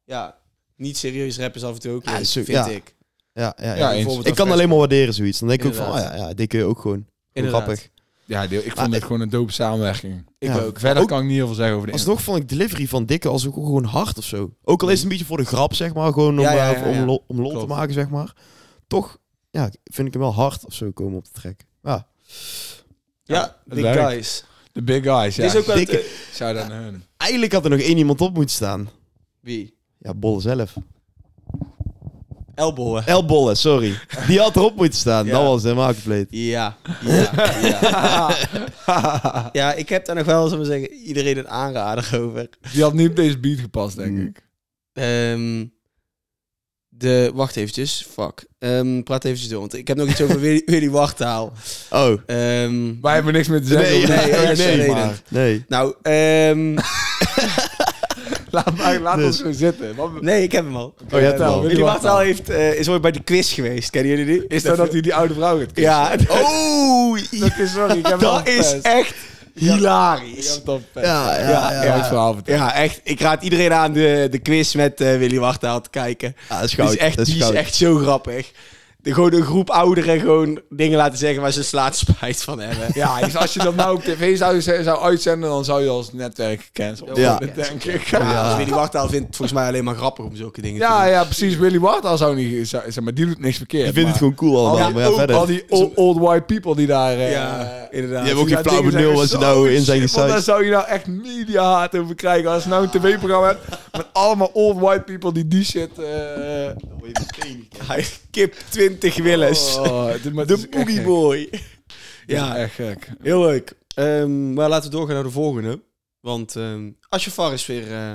Speaker 3: ja, niet serieus rap is af en toe ook
Speaker 2: Ja,
Speaker 3: leuk,
Speaker 2: zo-
Speaker 3: vind
Speaker 2: ja.
Speaker 3: ik.
Speaker 2: Ja,
Speaker 1: Ja,
Speaker 2: ja, ja.
Speaker 1: eens.
Speaker 3: Bijvoorbeeld
Speaker 2: Ik kan
Speaker 3: als-
Speaker 2: alleen maar waarderen zoiets. Dan denk ik ook van, oh
Speaker 3: Inderdaad.
Speaker 2: ja, ja, die kun je ook gewoon. Hoe
Speaker 3: Inderdaad.
Speaker 2: Grappig.
Speaker 1: Ja, deel- ik vond
Speaker 2: Maar
Speaker 1: dit
Speaker 2: ik-
Speaker 1: gewoon een dope samenwerking.
Speaker 3: Ik
Speaker 2: Ja.
Speaker 3: ook.
Speaker 1: Verder
Speaker 2: ook-
Speaker 1: kan ik niet heel veel zeggen over de inhoud.
Speaker 2: Alsnog vond ik delivery van Dikke als ook gewoon hard of zo. Ook al is het een beetje voor de grap, zeg maar. Gewoon om,
Speaker 3: Ja, ja, ja,
Speaker 2: eh, om
Speaker 3: ja.
Speaker 2: lol, om lol te
Speaker 3: Klopt.
Speaker 2: maken, zeg maar. Toch, ja, vind ik hem wel hard of zo komen op de track. Ja,
Speaker 3: Ja,
Speaker 1: het
Speaker 3: big
Speaker 1: werkt.
Speaker 3: guys.
Speaker 1: De big guys, ja.
Speaker 3: Dit is ook wel...
Speaker 2: Dikke-
Speaker 3: eh,
Speaker 1: Shout out naar hun.
Speaker 2: eigenlijk had er nog één iemand op moeten staan.
Speaker 3: wie?
Speaker 2: Ja, Bolle zelf.
Speaker 3: Elbowen.
Speaker 2: El Bolle, sorry. Die had erop moeten staan.
Speaker 3: Ja.
Speaker 2: Dat was helemaal compleet.
Speaker 3: Ja, ja, ja. ja, ik heb daar nog wel, zullen we zeggen, iedereen een aanrader over.
Speaker 1: Die had niet op deze beat gepast, denk
Speaker 2: Mm.
Speaker 1: ik.
Speaker 3: Ehm, de, wacht eventjes, fuck. Ehm, praat eventjes door, want ik heb nog iets over Willy, Willy Wartaal.
Speaker 2: Oh,
Speaker 3: Ehm,
Speaker 1: Wij hebben niks meer te zeggen.
Speaker 2: Nee,
Speaker 1: over
Speaker 2: ja,
Speaker 1: deze
Speaker 2: nee,
Speaker 1: eerste
Speaker 2: nee,
Speaker 1: reden.
Speaker 3: maar-
Speaker 2: nee.
Speaker 3: nou, ehm,
Speaker 1: Laat, maar- laat
Speaker 2: Dus-
Speaker 1: ons gewoon zitten. Wat-
Speaker 3: nee, ik heb hem al. Ehm,
Speaker 2: Oh, je hebt
Speaker 1: vertel.
Speaker 2: hem al.
Speaker 1: Willy
Speaker 3: Willy Wartaal
Speaker 1: Wartaal.
Speaker 3: heeft, eh, is ooit bij de quiz geweest, kennen jullie die?
Speaker 1: Is dat dat hij die oude vrouw gaat kussen?
Speaker 3: Ja,
Speaker 2: Oh,
Speaker 1: Dat is, sorry, ik heb het al
Speaker 3: dat is
Speaker 1: verpest.
Speaker 3: echt
Speaker 1: Ik
Speaker 3: hilarisch.
Speaker 1: heb het al verpest.
Speaker 2: ja, ja,
Speaker 3: Ja,
Speaker 2: ja.
Speaker 1: Ik heb het verhaal verteld.
Speaker 3: Ja, echt. Ik raad iedereen aan de, de quiz met eh, Willy Wartaal te kijken.
Speaker 2: Ja, dat is
Speaker 3: Die
Speaker 2: goud.
Speaker 3: is echt,
Speaker 2: dat is
Speaker 3: die is
Speaker 2: goud.
Speaker 3: echt zo grappig. De, gewoon een groep ouderen gewoon dingen laten zeggen waar ze slaat spijt van hebben.
Speaker 1: Ja, dus als je dat nou op tv zou, zou uitzenden, dan zou je als netwerk gecanceld worden,
Speaker 2: Ja.
Speaker 1: denk ik.
Speaker 3: Ja.
Speaker 1: Ja,
Speaker 3: Dus Willy Wartaal vindt het volgens mij alleen maar grappig om zulke dingen te
Speaker 1: ja,
Speaker 3: doen.
Speaker 1: ja, precies. Willy Wartaal zou niet... zou- zeg maar, die doet niks verkeerd.
Speaker 2: Ik vind het
Speaker 1: maar
Speaker 2: gewoon cool allemaal. Maar ja,
Speaker 1: al die,
Speaker 2: verder.
Speaker 1: al die o- old white people die daar... eh,
Speaker 3: Ja, inderdaad.
Speaker 2: Die hebben ook
Speaker 1: Ja,
Speaker 2: geen flauw
Speaker 1: dingen zeggen
Speaker 2: benul wat ze
Speaker 1: zo
Speaker 2: nou in zijn
Speaker 1: shit, Want daar
Speaker 2: gesuist.
Speaker 1: zou je nou echt mediahaat over krijgen. Als je nou een tv-programma hebt met allemaal old white people die die shit... eh,
Speaker 3: Hij kip 20 Willis.
Speaker 1: oh, dit- maar dit is
Speaker 3: de
Speaker 1: echt
Speaker 3: Boogie
Speaker 1: gek.
Speaker 3: Boy.
Speaker 1: Dit is
Speaker 3: Ja,
Speaker 1: echt gek.
Speaker 3: heel leuk. Ehm, maar laten we doorgaan naar de volgende. Want ehm Ashafar is weer eh,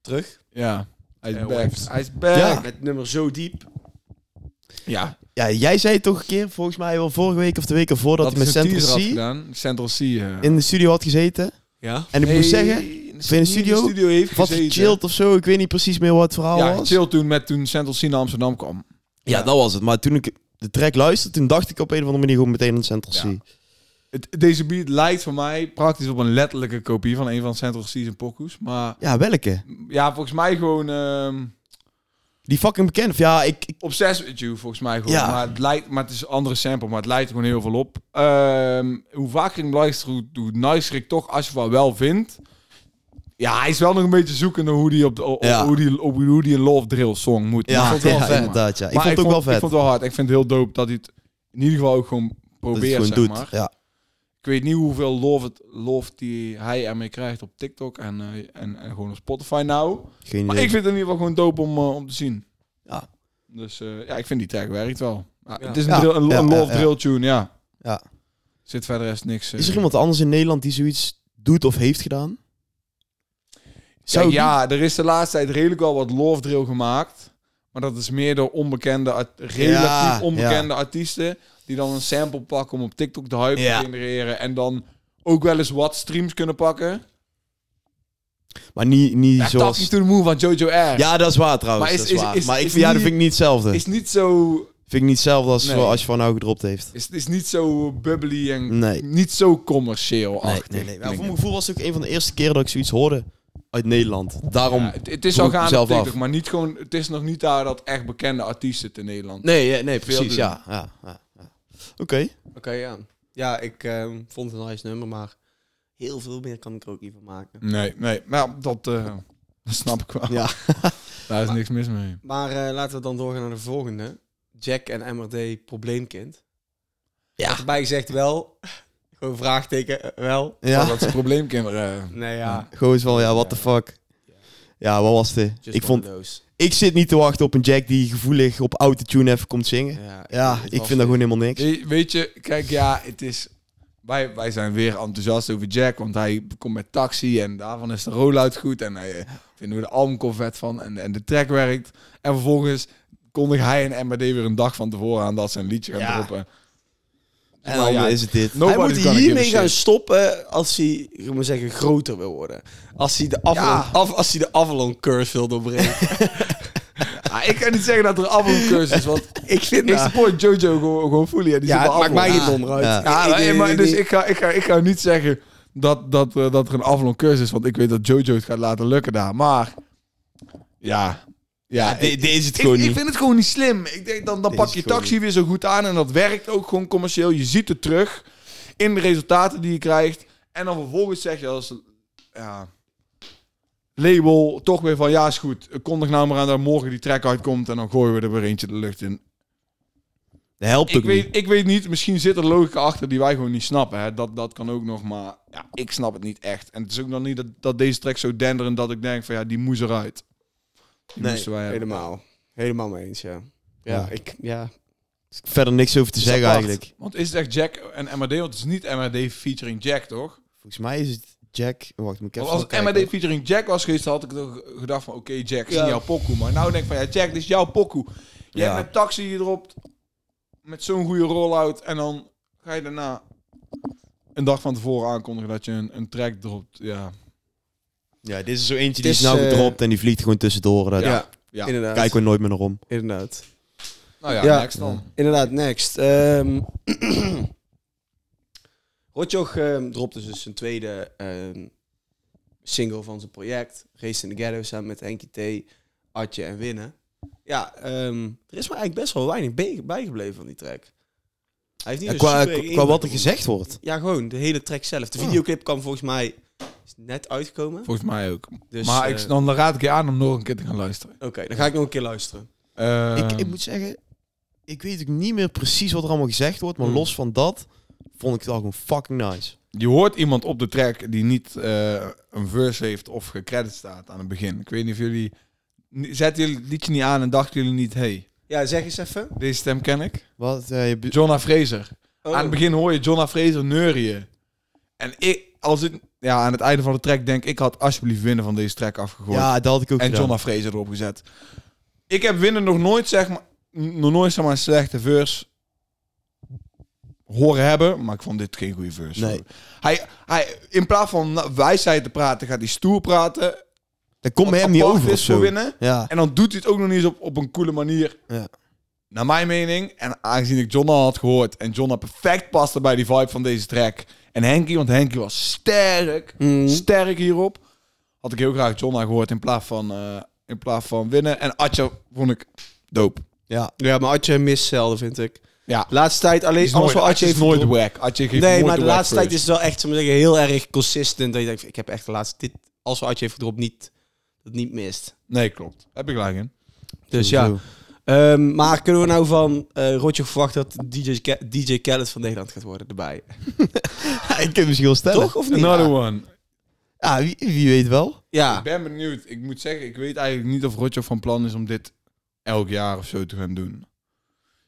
Speaker 3: terug.
Speaker 1: Ja, hij is
Speaker 3: Eh,
Speaker 1: back.
Speaker 3: waves.
Speaker 1: Hij is back.
Speaker 2: Ja.
Speaker 3: Met het nummer Zo Diep.
Speaker 1: Ja,
Speaker 2: Ja, jij zei toch een keer, volgens mij wel vorige week of de week ervoor, dat, hij met
Speaker 1: is een teaser
Speaker 2: Central
Speaker 1: had
Speaker 2: C
Speaker 1: gedaan. Central C. eh.
Speaker 2: in de studio had gezeten.
Speaker 3: Ja.
Speaker 2: En ik
Speaker 1: Nee,
Speaker 2: moet zeggen,
Speaker 1: in
Speaker 2: de studio?
Speaker 1: heeft
Speaker 2: wat
Speaker 1: gezeten.
Speaker 2: gechilled of zo, ik weet niet precies meer wat het verhaal
Speaker 1: Ja,
Speaker 2: was.
Speaker 1: chill toen met toen Central C naar Amsterdam kwam.
Speaker 2: Ja, dat was het. Maar toen ik de track luisterde, toen dacht ik op een of andere manier gewoon meteen aan Central
Speaker 1: Ja.
Speaker 2: C.
Speaker 1: Het, deze beat lijkt voor mij praktisch op een letterlijke kopie van een van Central C's en Pokus. Maar
Speaker 2: Ja, welke?
Speaker 1: ja, volgens mij gewoon ehm,
Speaker 2: Die fucking bekend. Of ja, ik, ik-
Speaker 1: Obsessed with You, volgens mij gewoon.
Speaker 2: Ja.
Speaker 1: Maar, het lijkt, maar het is een andere sample, maar het lijkt er gewoon heel veel op. Ehm, hoe vaker ik hem luister, hoe, hoe nicer ik toch Ashwa wel vind. Ja, hij is wel nog een beetje zoekende hoe die op, de, op-
Speaker 2: Ja.
Speaker 1: hoe die, op hoe die een Love Drill song moet.
Speaker 2: ja,
Speaker 1: Maar-
Speaker 2: ik vond het wel
Speaker 1: ja,
Speaker 2: vet.
Speaker 1: maar-
Speaker 2: Inderdaad, ja. Ik
Speaker 1: Maar
Speaker 2: vond het ook wel vet.
Speaker 1: Ik vond het wel hard. Ik vind het heel dope dat hij het in ieder geval ook gewoon
Speaker 2: dat hij
Speaker 1: probeert,
Speaker 2: het
Speaker 1: zeg
Speaker 2: gewoon doet.
Speaker 1: maar.
Speaker 2: Ja.
Speaker 1: Ik weet niet hoeveel love, het, love die hij ermee krijgt op TikTok en, eh, en, en gewoon op Spotify nou.
Speaker 2: Geen
Speaker 1: Maar
Speaker 2: idee.
Speaker 1: ik vind het in ieder geval gewoon dope om, eh, om te zien.
Speaker 2: Ja.
Speaker 1: Dus eh, ja, ik vind die track werkt wel. Ah,
Speaker 3: Ja.
Speaker 1: Het is een,
Speaker 2: Ja,
Speaker 1: drill- een,
Speaker 2: ja,
Speaker 1: een
Speaker 2: ja,
Speaker 1: love
Speaker 2: ja.
Speaker 1: drill tune, ja.
Speaker 2: Ja.
Speaker 1: Zit verder rest niks. eh.
Speaker 2: Is er iemand anders in Nederland die zoiets doet of heeft gedaan? Zou
Speaker 1: Kijk,
Speaker 2: ik niet-
Speaker 1: ja, er is de laatste tijd redelijk wel wat love drill gemaakt. Maar dat is meer door onbekende, art- relatief
Speaker 2: Ja,
Speaker 1: onbekende artiesten. Die dan een sample pakken om op TikTok de hype
Speaker 2: Ja.
Speaker 1: te genereren. En dan ook wel eens wat streams kunnen pakken.
Speaker 2: Maar niet, niet
Speaker 1: Ja,
Speaker 2: zoals...
Speaker 1: Talking to the Moon van Jojo R.
Speaker 2: Ja, dat is waar trouwens.
Speaker 1: Maar is-
Speaker 2: dat
Speaker 1: is-
Speaker 2: waar.
Speaker 1: is-
Speaker 2: maar ik
Speaker 1: is
Speaker 2: vind, ja, dat
Speaker 1: niet-
Speaker 2: vind ik niet hetzelfde.
Speaker 1: Is niet zo
Speaker 2: Vind ik niet hetzelfde als
Speaker 1: Nee.
Speaker 2: zoals je van nou gedropt heeft.
Speaker 1: is, is niet zo bubbly en
Speaker 2: Nee.
Speaker 1: niet zo commercieel.
Speaker 2: Nee, nee, nee. Maar voor mijn gevoel was het ook een van de eerste keren dat ik zoiets hoorde. uit Nederland. Daarom.
Speaker 1: Ja, het, het is
Speaker 2: vroeg
Speaker 1: al
Speaker 2: ik
Speaker 1: gaande op
Speaker 2: mezelf af.
Speaker 1: TikTok, maar niet gewoon, het is nog niet daar dat echt bekende artiesten het in Nederland.
Speaker 2: Nee,
Speaker 3: eh,
Speaker 2: ja, nee,
Speaker 1: Veel
Speaker 2: precies.
Speaker 1: doen.
Speaker 2: Ja, ja, ja, ja. Oké.
Speaker 3: Oké, ja. Ja, ik ehm, vond het een nice nummer, maar heel veel meer kan ik er ook niet van maken.
Speaker 1: Nee, nee. Nou, dat, eh, dat snap ik wel.
Speaker 2: Ja.
Speaker 1: Daar is niks mis mee.
Speaker 3: Maar eh, laten we dan doorgaan naar de volgende. Jack en MRD, probleemkind.
Speaker 2: Ja.
Speaker 3: Daarbij gezegd wel, gewoon vraagteken, eh, wel.
Speaker 1: Ja.
Speaker 2: Ja.
Speaker 1: Dat is een probleem, kinderen.
Speaker 3: Nee, ja.
Speaker 2: Gewoon eens van, ja, what the
Speaker 3: Ja.
Speaker 2: fuck. Ja, wat was dit?
Speaker 3: Just
Speaker 2: Ik, vond,
Speaker 3: one of those.
Speaker 2: ik zit niet te wachten op een Jack die gevoelig op autotune even komt zingen.
Speaker 3: Ja,
Speaker 2: Ja,
Speaker 3: het
Speaker 2: ik
Speaker 3: was
Speaker 2: vind dat
Speaker 3: dit.
Speaker 2: gewoon helemaal niks.
Speaker 1: We- weet je, kijk, ja, het is... Wij, wij zijn weer enthousiast over Jack, want hij komt met taxi en daarvan is de rollout goed. En hij eh, vinden we de albumcover vet van en, en de track werkt. En vervolgens kondigt hij en MRD weer een dag van tevoren aan dat ze een liedje gaan
Speaker 2: Ja.
Speaker 1: droppen.
Speaker 2: En
Speaker 1: Maar
Speaker 2: dan
Speaker 1: ja,
Speaker 2: is het dit.
Speaker 1: Nobody
Speaker 3: hij
Speaker 1: gonna
Speaker 3: moet
Speaker 1: give a
Speaker 3: hiermee
Speaker 1: shit.
Speaker 3: gaan stoppen als hij, ik moet zeggen, groter wil worden. Als hij de Avalon,
Speaker 1: Ja.
Speaker 3: af, als hij de Avalon curse wil doorbreken.
Speaker 1: Ah, ik kan niet zeggen dat er een albumcursus is, want
Speaker 3: ik vind
Speaker 1: ik
Speaker 3: dat...
Speaker 1: support Jojo gewoon, gewoon fully. En die
Speaker 3: Ja,
Speaker 1: zit
Speaker 3: het
Speaker 1: bij Avalon.
Speaker 3: maakt mij
Speaker 2: Ja.
Speaker 3: niet donder uit.
Speaker 2: Ja.
Speaker 1: Ja,
Speaker 3: Ik- ik-
Speaker 1: nee,
Speaker 3: ik-
Speaker 1: maar
Speaker 3: ik-
Speaker 1: dus ik ga, ik ga, ik ga niet zeggen dat, dat, eh, dat er een Avalon cursus is, want ik weet dat Jojo het gaat laten lukken daar. Maar ja, ja,
Speaker 2: Dit
Speaker 1: ik,
Speaker 2: dit is het
Speaker 1: ik,
Speaker 2: gewoon
Speaker 1: ik
Speaker 2: niet.
Speaker 1: vind het gewoon niet slim. Ik denk, dan, dan
Speaker 2: Dit
Speaker 1: pak
Speaker 2: is
Speaker 1: je
Speaker 2: gewoon
Speaker 1: taxi weer zo goed aan en dat werkt ook gewoon commercieel. Je ziet het terug in de resultaten die je krijgt. En dan vervolgens zeg je als ja, label toch weer van ja is goed, kondig nou maar aan dat morgen die track uitkomt en dan gooien we er weer eentje de lucht in.
Speaker 2: Dat helpt
Speaker 1: Ik
Speaker 2: ook niet.
Speaker 1: weet, ik weet niet, misschien zit er logica achter die wij gewoon niet snappen. Hè. Dat, dat kan ook nog, maar ja, ik snap het niet echt. En het is ook nog niet dat, dat deze track zo denderend dat ik denk van ja, die moest eruit. Die
Speaker 3: Nee,
Speaker 1: moesten wij hebben.
Speaker 3: helemaal. Helemaal mee eens, ja. Ja,
Speaker 2: Ja.
Speaker 3: ik... Ja.
Speaker 2: Verder niks over te
Speaker 3: Is
Speaker 2: zeggen
Speaker 3: apart.
Speaker 2: eigenlijk.
Speaker 1: Want is het echt Jack en MRD? Want het is niet MRD featuring Jack, toch?
Speaker 2: Volgens mij is het Jack... Wacht, moet ik
Speaker 1: Want
Speaker 2: even
Speaker 1: als het
Speaker 2: kijken.
Speaker 1: MRD featuring Jack was geweest, dan had ik nog gedacht van oké Jack, zie
Speaker 3: Ja.
Speaker 1: jouw pokoe. Maar nou denk ik van ja Jack, dit is jouw pokoe. Je
Speaker 2: Ja.
Speaker 1: hebt een taxi die dropt met zo'n goede rollout en dan ga je daarna een dag van tevoren aankondigen dat je een, een track dropt. Ja.
Speaker 2: Ja, dit is zo eentje die
Speaker 3: Het
Speaker 2: is
Speaker 3: is,
Speaker 2: nou
Speaker 3: eh,
Speaker 2: gedropt en die vliegt gewoon tussendoor. Daar
Speaker 1: Ja.
Speaker 3: ja.
Speaker 1: Ja.
Speaker 3: Inderdaad.
Speaker 2: kijken we nooit meer naar om.
Speaker 3: Inderdaad.
Speaker 1: Nou ja,
Speaker 3: Ja.
Speaker 1: next
Speaker 2: Mm.
Speaker 1: dan.
Speaker 3: Inderdaad, next. Ehm Rotjoch ehm, dropte dus zijn tweede ehm, single van zijn project. Race in the Ghetto samen met Henkie T, Atje en Winnen. Ja, ehm, er is maar eigenlijk best wel weinig be- bijgebleven van die track. Hij heeft niet
Speaker 2: Ja,
Speaker 3: een
Speaker 2: qua,
Speaker 3: super
Speaker 2: qua
Speaker 3: impact
Speaker 2: wat er
Speaker 3: op-
Speaker 2: gezegd wordt.
Speaker 3: Ja, gewoon de hele track zelf.
Speaker 1: Oh.
Speaker 3: De
Speaker 2: Ja.
Speaker 3: videoclip kwam volgens mij is net uitgekomen.
Speaker 1: Volgens mij ook.
Speaker 3: Dus,
Speaker 1: maar
Speaker 3: eh,
Speaker 1: ik, dan raad ik je aan om nog een keer te gaan luisteren.
Speaker 3: Oké, dan ga ik nog een keer luisteren.
Speaker 1: Ehm,
Speaker 2: ik, ik moet zeggen, ik weet ook niet meer precies wat er allemaal gezegd wordt. Maar
Speaker 3: Hmm.
Speaker 2: los van dat, vond ik het al gewoon fucking nice.
Speaker 1: Je hoort iemand op de track die niet eh, een verse heeft of gecredit staat aan het begin. Ik weet niet of jullie... ni- Zetten jullie het liedje niet aan en dachten jullie niet... hey,
Speaker 3: Ja, zeg eens even.
Speaker 1: deze stem ken ik?
Speaker 2: Wat, eh, je be-
Speaker 1: Jonna Fraser.
Speaker 3: Oh.
Speaker 1: Aan het begin hoor je Jonna Fraser neurien. En ik, als het... Ja, aan het einde van de track denk ik... had alsjeblieft winnen van deze track afgegooid.
Speaker 2: ja, dat had ik ook
Speaker 1: en
Speaker 2: gedaan.
Speaker 1: Jonna Fraser erop gezet. Ik heb winnen nog nooit, zeg maar, n- nog nooit zeg maar, een slechte verse horen hebben, maar ik vond dit geen goede verse.
Speaker 2: Nee.
Speaker 1: Hij, hij, in plaats van na- wijsheid te praten, gaat hij stoer praten.
Speaker 2: Dat komt bij
Speaker 1: wat
Speaker 2: hem niet
Speaker 1: apart
Speaker 2: over of
Speaker 1: is voor
Speaker 2: zo.
Speaker 1: winnen.
Speaker 2: Ja,
Speaker 1: En dan doet hij het ook nog niet eens op, op een coole manier.
Speaker 2: Ja.
Speaker 1: Naar mijn mening. En aangezien ik Jonna had gehoord en Jonna perfect paste bij die vibe van deze track. En Henky, want Henky was sterk
Speaker 3: Mm.
Speaker 1: sterk hierop. Had ik heel graag Jonna gehoord in plaats van, eh, in plaats van winnen. En Atje vond ik dope.
Speaker 2: ja.
Speaker 3: Ja, maar Atje mist zelden, vind ik.
Speaker 1: Ja.
Speaker 3: Laatste tijd alleen... Alles wat Atje
Speaker 1: is
Speaker 3: heeft
Speaker 1: nooit
Speaker 3: gedropt-
Speaker 1: wack. Atje geeft nooit
Speaker 3: Nee, maar de
Speaker 1: wack
Speaker 3: laatste tijd
Speaker 1: first.
Speaker 3: is het wel echt, zullen we zeggen, heel erg consistent. Dat je denkt, ik heb echt de laatste... Dit, als we Atje heeft gedropt, niet, dat niet mist.
Speaker 1: Nee, klopt. Heb ik gelijk in.
Speaker 3: Dus ja.
Speaker 2: sowieso.
Speaker 3: Ehm, maar kunnen we nou van eh Rotjoch verwachten dat DJ, Ke- DJ Khaled van Nederland gaat worden erbij?
Speaker 2: ik kan misschien wel stellen.
Speaker 3: Toch of niet?
Speaker 1: Another
Speaker 3: Ja.
Speaker 1: one.
Speaker 2: Ja, wie, wie weet wel.
Speaker 1: Nou, Ik
Speaker 3: Ja.
Speaker 1: ben benieuwd. Ik moet zeggen, ik weet eigenlijk niet of Roger van plan is om dit elk jaar of zo te gaan doen.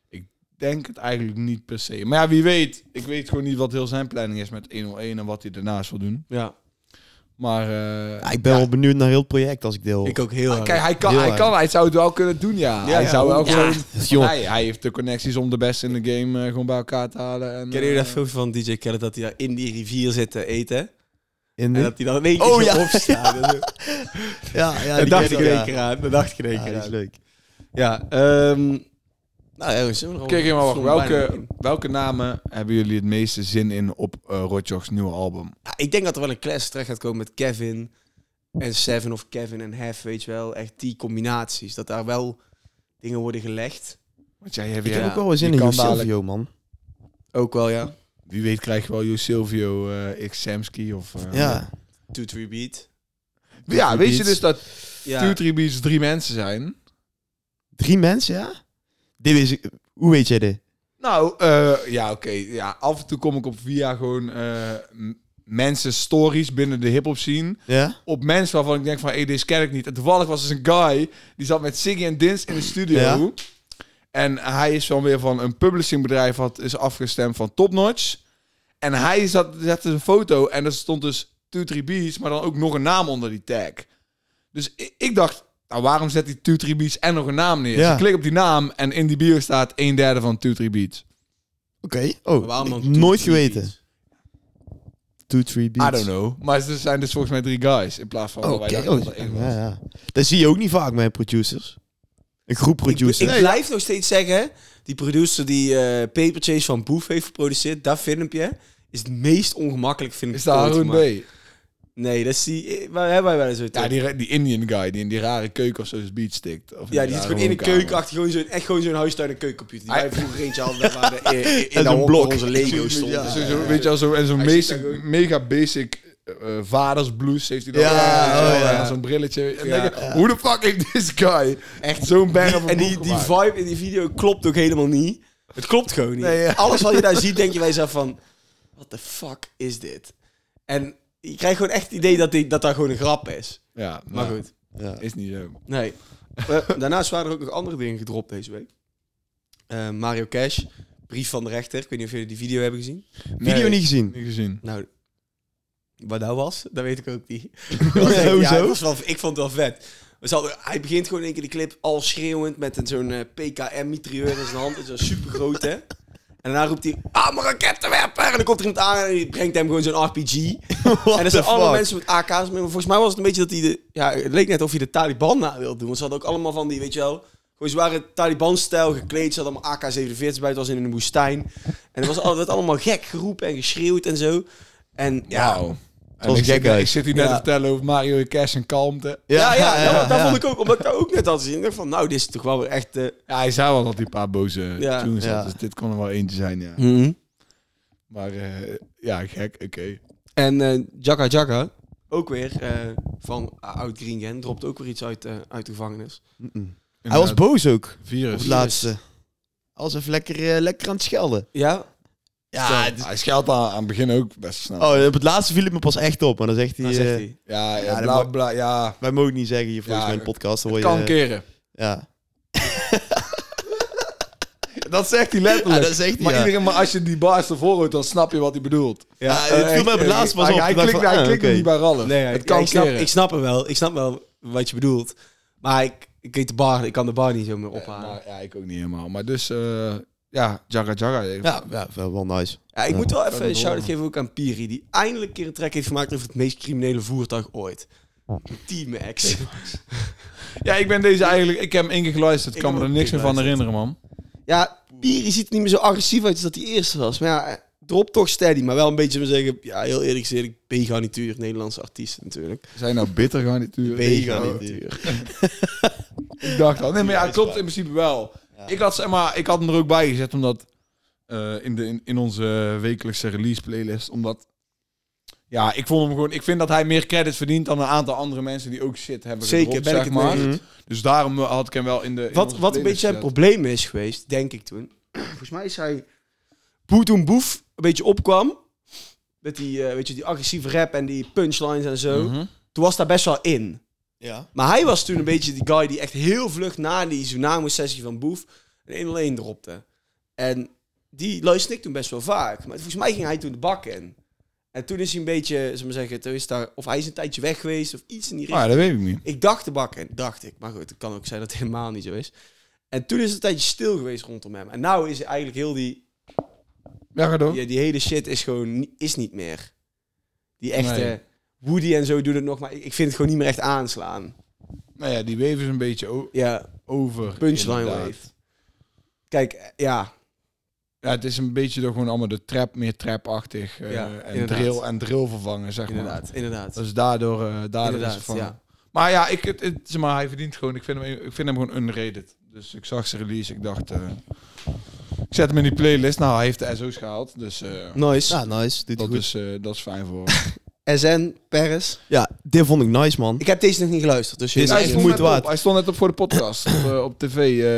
Speaker 1: Ik denk het eigenlijk niet per se. Maar ja, wie weet. Ik weet gewoon niet wat heel zijn planning is met 101 en wat hij daarnaast wil doen.
Speaker 3: ja.
Speaker 1: Maar... eh,
Speaker 2: Ja, ik ben wel benieuwd naar heel het project als ik deel.
Speaker 3: Ik ook heel erg.
Speaker 1: Ah, Kijk, hij kan,
Speaker 2: Heel
Speaker 1: hij
Speaker 2: erg.
Speaker 1: kan, hij zou het wel kunnen doen, ja.
Speaker 3: Ja,
Speaker 1: hij
Speaker 3: ja.
Speaker 1: zou wel
Speaker 3: Ja.
Speaker 1: gewoon...
Speaker 2: Jongen.
Speaker 1: Hij, hij heeft de connecties om de beste in de game eh, gewoon bij elkaar te halen. En,
Speaker 3: Kennen jullie
Speaker 1: eh,
Speaker 3: dat filmpje van DJ Khaled dat hij daar in die rivier zit te eten?
Speaker 2: In
Speaker 3: En
Speaker 2: de-
Speaker 3: dat hij dan in één keer
Speaker 2: Oh,
Speaker 3: zo
Speaker 2: ja.
Speaker 3: opstaat. Dat-
Speaker 2: ja, ja,
Speaker 3: Dat
Speaker 2: die
Speaker 3: dacht ik
Speaker 2: ken
Speaker 3: in
Speaker 2: wel,
Speaker 3: één keer aan. Dat dacht ik in één
Speaker 2: Ja,
Speaker 3: keer
Speaker 2: die is
Speaker 3: aan.
Speaker 2: leuk.
Speaker 3: Ja, ehm... Nou, ja, we zijn er al-
Speaker 1: Oké, oké, maar wacht.
Speaker 3: stonden bijna
Speaker 1: Welke,
Speaker 3: in.
Speaker 1: welke namen hebben jullie het meeste zin in op eh Rotjoch's nieuwe album?
Speaker 3: Ja, ik denk dat er wel een clash terecht gaat komen met Kevin en Seven of Kevin en Hef, weet je wel. Echt die combinaties. Dat daar wel dingen worden gelegd.
Speaker 1: Want jij hebt
Speaker 2: Ik
Speaker 1: ja,
Speaker 2: heb ook wel eens in
Speaker 1: je
Speaker 2: een
Speaker 1: kan
Speaker 2: Joost
Speaker 1: dadelijk-
Speaker 2: Silvio, man.
Speaker 3: Ook wel, ja.
Speaker 1: Wie weet krijg je wel Jo Silvio eh X Samsky of... eh,
Speaker 2: Ja.
Speaker 3: 2-3 beat.
Speaker 1: Ja, weet je dus dat
Speaker 3: Ja.
Speaker 1: Two Three Beats drie mensen zijn?
Speaker 2: Drie mensen, ja? Dit is, hoe weet jij dit?
Speaker 1: Nou, eh, ja, oké. Ja, af en toe kom ik op via gewoon eh, m- mensen stories binnen de hip-hop scene.
Speaker 2: Ja?
Speaker 1: Op mensen waarvan ik denk van, hey, deze ken ik niet. En toevallig was dus een guy, die zat met Siggy en Dins in de studio.
Speaker 2: Ja.
Speaker 1: En hij is dan weer van een publishingbedrijf wat is afgestemd van Top Notch. En hij zat, zette een foto en er stond dus 2-3 Beats, maar dan ook nog een naam onder die tag. Dus ik, ik dacht, nou waarom zet hij 2-3 Beats en nog een naam neer?
Speaker 2: Ja.
Speaker 1: Dus ik klik op die naam en in die bio staat een derde van 2-3 Beats.
Speaker 2: Oké. Oh,
Speaker 3: Maar waarom
Speaker 2: ik-
Speaker 3: dan 2-3
Speaker 2: nooit geweten.
Speaker 3: beat?
Speaker 2: Two, three
Speaker 1: I
Speaker 2: beats.
Speaker 1: don't know. Maar ze zijn dus volgens mij drie guys in plaats van wat
Speaker 2: Oké.
Speaker 1: wij dachten
Speaker 2: Oh,
Speaker 1: dat er één was.
Speaker 2: ja, ja. Dat zie je ook niet vaak met producers. Een groep producers.
Speaker 3: Ik, ik blijf nog steeds zeggen, die producer die eh Paper Chase van Boef heeft geproduceerd, dat filmpje is het meest ongemakkelijk vind ik.
Speaker 1: Is dat
Speaker 3: ooit
Speaker 1: Haroon
Speaker 3: gemaakt.
Speaker 1: B?
Speaker 3: Nee, dat is die, eh, waar hebben wij wel eens ooit
Speaker 1: Ja,
Speaker 3: over.
Speaker 1: die, ra- die Indian guy die in die rare keuken of zo zijn beat stikt. Of
Speaker 3: Ja, die
Speaker 1: rare
Speaker 3: zit gewoon in de
Speaker 1: woonkamer.
Speaker 3: keuken achter gewoon zo'n, echt gewoon zo'n huistuin- en keukencomputer. Die
Speaker 1: Hij-
Speaker 3: wij vroeger eentje hadden, waar de, in, in,
Speaker 2: een
Speaker 3: de hok
Speaker 2: blok.
Speaker 3: waar onze Lego
Speaker 2: Ja,
Speaker 3: stond.
Speaker 1: Zo- Dus zo- weet je wel, zo, en zo'n
Speaker 3: Hij zit
Speaker 1: basic-
Speaker 3: daar gewoon-
Speaker 1: mega basic eh, vadersblues heeft hij dan.
Speaker 2: Ja,
Speaker 1: Ja,
Speaker 2: oh,
Speaker 1: en
Speaker 2: ja.
Speaker 1: Zo'n brilletje. En
Speaker 3: Ja.
Speaker 1: denk je, hoe de fuck heeft this guy echt zo'n bang op
Speaker 3: En die, die vibe in die video klopt ook helemaal niet. Het klopt gewoon niet.
Speaker 1: Nee, ja.
Speaker 3: Alles wat je daar ziet, denk je bij jezelf van... What the fuck is dit? En je krijgt gewoon echt het idee dat, die, dat daar gewoon een grap is.
Speaker 1: Ja,
Speaker 3: Maar goed,
Speaker 2: Ja.
Speaker 1: Is niet zo.
Speaker 3: nee. Eh, Daarnaast waren er ook nog andere dingen gedropt deze week. Eh, Mario Cash, brief van de rechter. Ik weet niet of jullie die video hebben gezien.
Speaker 2: Video niet gezien.
Speaker 1: Niet gezien.
Speaker 3: Nou, wat dat was, dat weet ik ook niet.
Speaker 2: Hoezo?
Speaker 3: ja, het was wel, ik vond het wel vet. We zaten- hij begint gewoon in één keer die clip al schreeuwend met een- zo'n eh, PKM-mitrieur in zijn hand. Dat is wel super groot, hè? En daarna roept hij, ah, mijn rakettenwerper! En dan komt er iemand aan en die brengt hem gewoon zo'n RPG. en er zijn allemaal mensen met AK's. mee, Maar volgens mij was het een beetje dat hij de... Ja, het leek net of hij de Taliban na wilde doen. Want ze hadden ook allemaal van die, weet je wel... Gewoon zware Taliban-stijl gekleed. Ze hadden allemaal AK-47 buiten. Het was in een woestijn. En er was al- werd allemaal gek geroepen en geschreeuwd en zo. En ja,
Speaker 1: Wauw. En
Speaker 2: was
Speaker 1: ik, zit,
Speaker 2: gek, guys.
Speaker 1: ik zit hier net
Speaker 3: Ja.
Speaker 1: te vertellen over Mario Cash en kalmte.
Speaker 3: Ja, ja, ja, want dat
Speaker 2: ja.
Speaker 3: vond ik ook, omdat ik dat ook net had gezien. Ik dacht van, nou, dit is toch wel weer echt... eh,
Speaker 1: Ja, hij zei wel dat die paar boze
Speaker 3: Ja.
Speaker 1: tunes had,
Speaker 2: Ja.
Speaker 1: Dus dit kon er wel eentje zijn, ja. Maar eh, ja, gek, oké.
Speaker 3: En eh Jaka Jaka, ook weer eh, van Oud Green Gen, dropt ook weer iets uit, eh, uit de gevangenis.
Speaker 2: Mm-mm. Hij was boos ook. Op het
Speaker 1: Virus.
Speaker 2: laatste. Hij was even lekker, eh, lekker aan het schelden.
Speaker 3: Ja,
Speaker 2: Ja, het is-
Speaker 1: Hij scheldt aan, aan het begin ook best snel.
Speaker 2: Oh, op het laatste viel het me pas echt op. Maar dan zegt hij...
Speaker 3: dan zegt
Speaker 2: eh,
Speaker 3: hij.
Speaker 1: Ja, ja,
Speaker 2: Ja, dat
Speaker 1: bla,
Speaker 2: mo-
Speaker 1: bla, ja.
Speaker 2: Wij mogen niet zeggen hier volgens
Speaker 1: Ja,
Speaker 2: mij in de podcast. Dan
Speaker 1: Het
Speaker 2: word
Speaker 1: kan
Speaker 2: je,
Speaker 1: keren.
Speaker 2: ja.
Speaker 1: Dat zegt hij letterlijk.
Speaker 2: Ja, dat zegt hij,
Speaker 1: maar
Speaker 2: ja.
Speaker 1: iedereen, maar als je die bars ervoor hoort, dan snap je wat hij bedoelt.
Speaker 2: Ja, het viel mij op het laatst pas
Speaker 1: hij,
Speaker 2: op.
Speaker 1: Hij
Speaker 2: Ik dacht
Speaker 1: klikt,
Speaker 2: van,
Speaker 1: hij
Speaker 2: ah,
Speaker 1: klikt
Speaker 2: oké.
Speaker 1: nog niet bij Ralf.
Speaker 3: Nee,
Speaker 1: het
Speaker 3: het
Speaker 1: kan
Speaker 3: ik, snap,
Speaker 1: keren.
Speaker 3: ik snap hem wel. Ik snap wel wat je bedoelt. Maar ik, ik weet de bar, ik kan de bar niet zo meer
Speaker 1: Ja,
Speaker 3: ophalen. Ja,
Speaker 1: maar- ja, ik ook niet helemaal. Maar dus, eh, ja, Jaga Jaga.
Speaker 2: Ja, ja, wel wel nice.
Speaker 3: ik moet wel
Speaker 1: kan
Speaker 3: even een
Speaker 1: het
Speaker 3: shout-out
Speaker 1: wel.
Speaker 3: geven ook aan Piri, die eindelijk een keer een track heeft gemaakt over het meest criminele voertuig ooit. T-Max.
Speaker 1: Ja, ik ben deze eigenlijk... Ik heb hem één keer geluisterd.
Speaker 3: Ik
Speaker 1: kan me
Speaker 3: heb
Speaker 1: er
Speaker 3: hem
Speaker 1: niks
Speaker 3: ook
Speaker 1: meer van
Speaker 3: geluisterd.
Speaker 1: herinneren, man.
Speaker 3: Ja, Piri ziet er niet meer zo agressief uit als dat hij eerst was. Maar ja, eh, drop toch steady. Maar wel een beetje we zeggen, ja, heel eerlijk gezegd, B-garnituur, Nederlandse artiesten natuurlijk.
Speaker 1: Zijn nou bitter garnituur?
Speaker 2: B-garnituur.
Speaker 1: Ik dacht al. Nee, maar ja, het klopt in principe wel. Ik, had, zeg maar, ik had hem er ook bij gezet, omdat... eh, in, de, in, in onze wekelijkse release playlist, omdat... Ja, ik vond hem gewoon... Ik vind dat hij meer credits verdient dan een aantal andere mensen die ook shit hebben
Speaker 3: Zeker,
Speaker 1: gedropt,
Speaker 3: ben ik
Speaker 1: zeg
Speaker 3: het
Speaker 1: maar.
Speaker 3: mee
Speaker 2: Mhm.
Speaker 1: Dus daarom eh, had ik hem wel in de... in
Speaker 3: Wat,
Speaker 1: onze
Speaker 3: wat een
Speaker 1: playlist
Speaker 3: beetje het
Speaker 1: gezet.
Speaker 3: probleem is geweest, denk ik toen. Volgens mij is hij, Boe toen Boef een beetje opkwam, met die, eh, weet je, die agressieve rap en die punchlines en zo.
Speaker 1: Mhm.
Speaker 3: Toen was daar best wel in.
Speaker 2: Ja.
Speaker 3: Maar hij was toen een beetje die guy die echt heel vlug na die Tsunami-sessie van Boef een 1-1 dropte. En die luisterde ik toen best wel vaak. Maar volgens mij ging hij toen de bak in. En toen is hij een beetje, zullen we zeggen, toen is daar, of hij is een tijdje weg geweest of iets in
Speaker 1: Ah,
Speaker 3: die richting.
Speaker 1: dat weet ik niet.
Speaker 3: Ik dacht de bak in, dacht ik. Maar goed, het kan ook zijn dat het helemaal niet zo is. En toen is het een tijdje stil geweest rondom hem. En nou is eigenlijk heel die,
Speaker 1: Ja, ga door.
Speaker 3: die, die hele shit is gewoon ni- is niet meer. Die echte
Speaker 1: Nee.
Speaker 3: Woody en zo doet het nog, maar ik ik vind het gewoon niet meer echt aanslaan.
Speaker 1: Nou ja, die wave is een beetje o-
Speaker 3: Ja,
Speaker 1: over.
Speaker 3: Punchline
Speaker 1: inderdaad.
Speaker 3: wave. Kijk, eh, ja.
Speaker 1: Ja, het is een beetje door gewoon allemaal de trap, meer trapachtig eh
Speaker 3: Ja,
Speaker 1: en,
Speaker 3: inderdaad.
Speaker 1: drill, en drill vervangen, zeg maar.
Speaker 3: Inderdaad, inderdaad.
Speaker 1: Dus daardoor, eh daardoor is het
Speaker 3: inderdaad,
Speaker 1: van.
Speaker 3: ja.
Speaker 1: Maar ja, ik, het, het- zeg maar, hij verdient gewoon, ik vind, hem, ik vind hem gewoon unrated. Dus ik zag zijn release, ik dacht, eh, ik zet hem in die playlist. Nou, hij heeft de SO's gehaald, dus eh,
Speaker 3: Nice.
Speaker 2: Ja, nice. Doet hij
Speaker 1: dat,
Speaker 2: goed.
Speaker 1: is, eh, dat is fijn voor hem.
Speaker 3: SN, Paris.
Speaker 2: Ja, dit vond ik nice, man.
Speaker 3: Ik heb deze nog niet geluisterd, dus
Speaker 2: Dit is
Speaker 1: Ja, hij
Speaker 2: echt
Speaker 1: stond
Speaker 2: de
Speaker 1: net
Speaker 2: moeite
Speaker 1: op.
Speaker 2: waard.
Speaker 1: Hij stond net op voor de podcast, op, eh, op tv.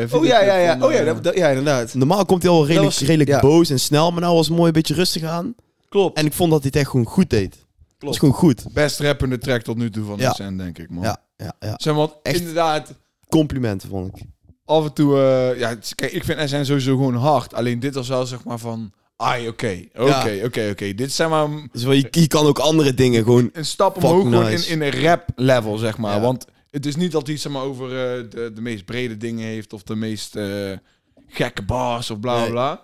Speaker 1: eh
Speaker 3: Oh ja, ja, ja.
Speaker 1: videoclip van,
Speaker 3: Oh ja,
Speaker 1: eh,
Speaker 3: dat, dat- ja, inderdaad.
Speaker 2: Normaal komt hij al redelijk,
Speaker 3: was-
Speaker 2: redelijk
Speaker 3: ja.
Speaker 2: boos en snel, maar nou was het mooi een beetje rustig aan.
Speaker 3: Klopt.
Speaker 2: En ik vond dat hij het echt gewoon goed deed. Het is gewoon goed.
Speaker 1: best rappende track tot nu toe van
Speaker 2: Ja.
Speaker 1: de SN, denk ik, man.
Speaker 2: Ja, ja, ja.
Speaker 1: Zeg, want
Speaker 2: Echt.
Speaker 1: inderdaad,
Speaker 2: Complimenten vond ik.
Speaker 1: af en toe... eh, ja, het is- kijk, ik vind SN sowieso gewoon hard. Alleen dit was wel zeg maar van... Ai, oké, oké, oké, oké. Dit is zeg maar een-
Speaker 2: Dus wel, je, je kan ook andere dingen gewoon...
Speaker 1: een stap
Speaker 2: Fuck
Speaker 1: omhoog gewoon
Speaker 2: nice.
Speaker 1: in, in een rap-level, zeg maar.
Speaker 2: Ja.
Speaker 1: Want het is niet dat hij zeg maar, over eh, de, de meest brede dingen heeft... of de meest eh, gekke bars of bla, bla,
Speaker 2: Nee.
Speaker 1: bla.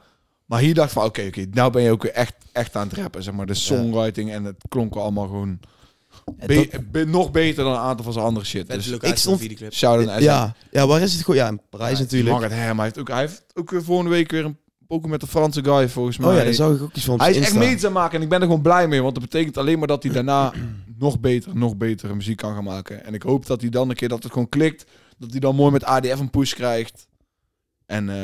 Speaker 1: Maar hier dacht ik van, oké, oké, nou ben je ook echt, echt aan het rappen, zeg maar. De songwriting en het klonk allemaal gewoon... be- be- nog beter dan een aantal van zijn andere shit.
Speaker 3: Vette
Speaker 1: Dus
Speaker 3: locatie
Speaker 2: ik stond-
Speaker 3: van videoclip.
Speaker 1: shout-out naar SN.
Speaker 2: Ja, ja, waar is het gewoon? Ja, in Parijs natuurlijk.
Speaker 1: Margaret Ham, hij heeft ook, hij heeft ook weer volgende week weer een poker met de Franse guy volgens mij.
Speaker 2: Oh ja, daar zag ik ook iets van op
Speaker 1: hij is
Speaker 2: zijn
Speaker 1: echt
Speaker 2: Insta.
Speaker 1: mee aan maken en ik ben er gewoon blij mee, want dat betekent alleen maar dat hij daarna nog beter, nog betere muziek kan gaan maken. En ik hoop dat hij dan een keer dat het gewoon klikt, dat hij dan mooi met ADF een push krijgt en eh,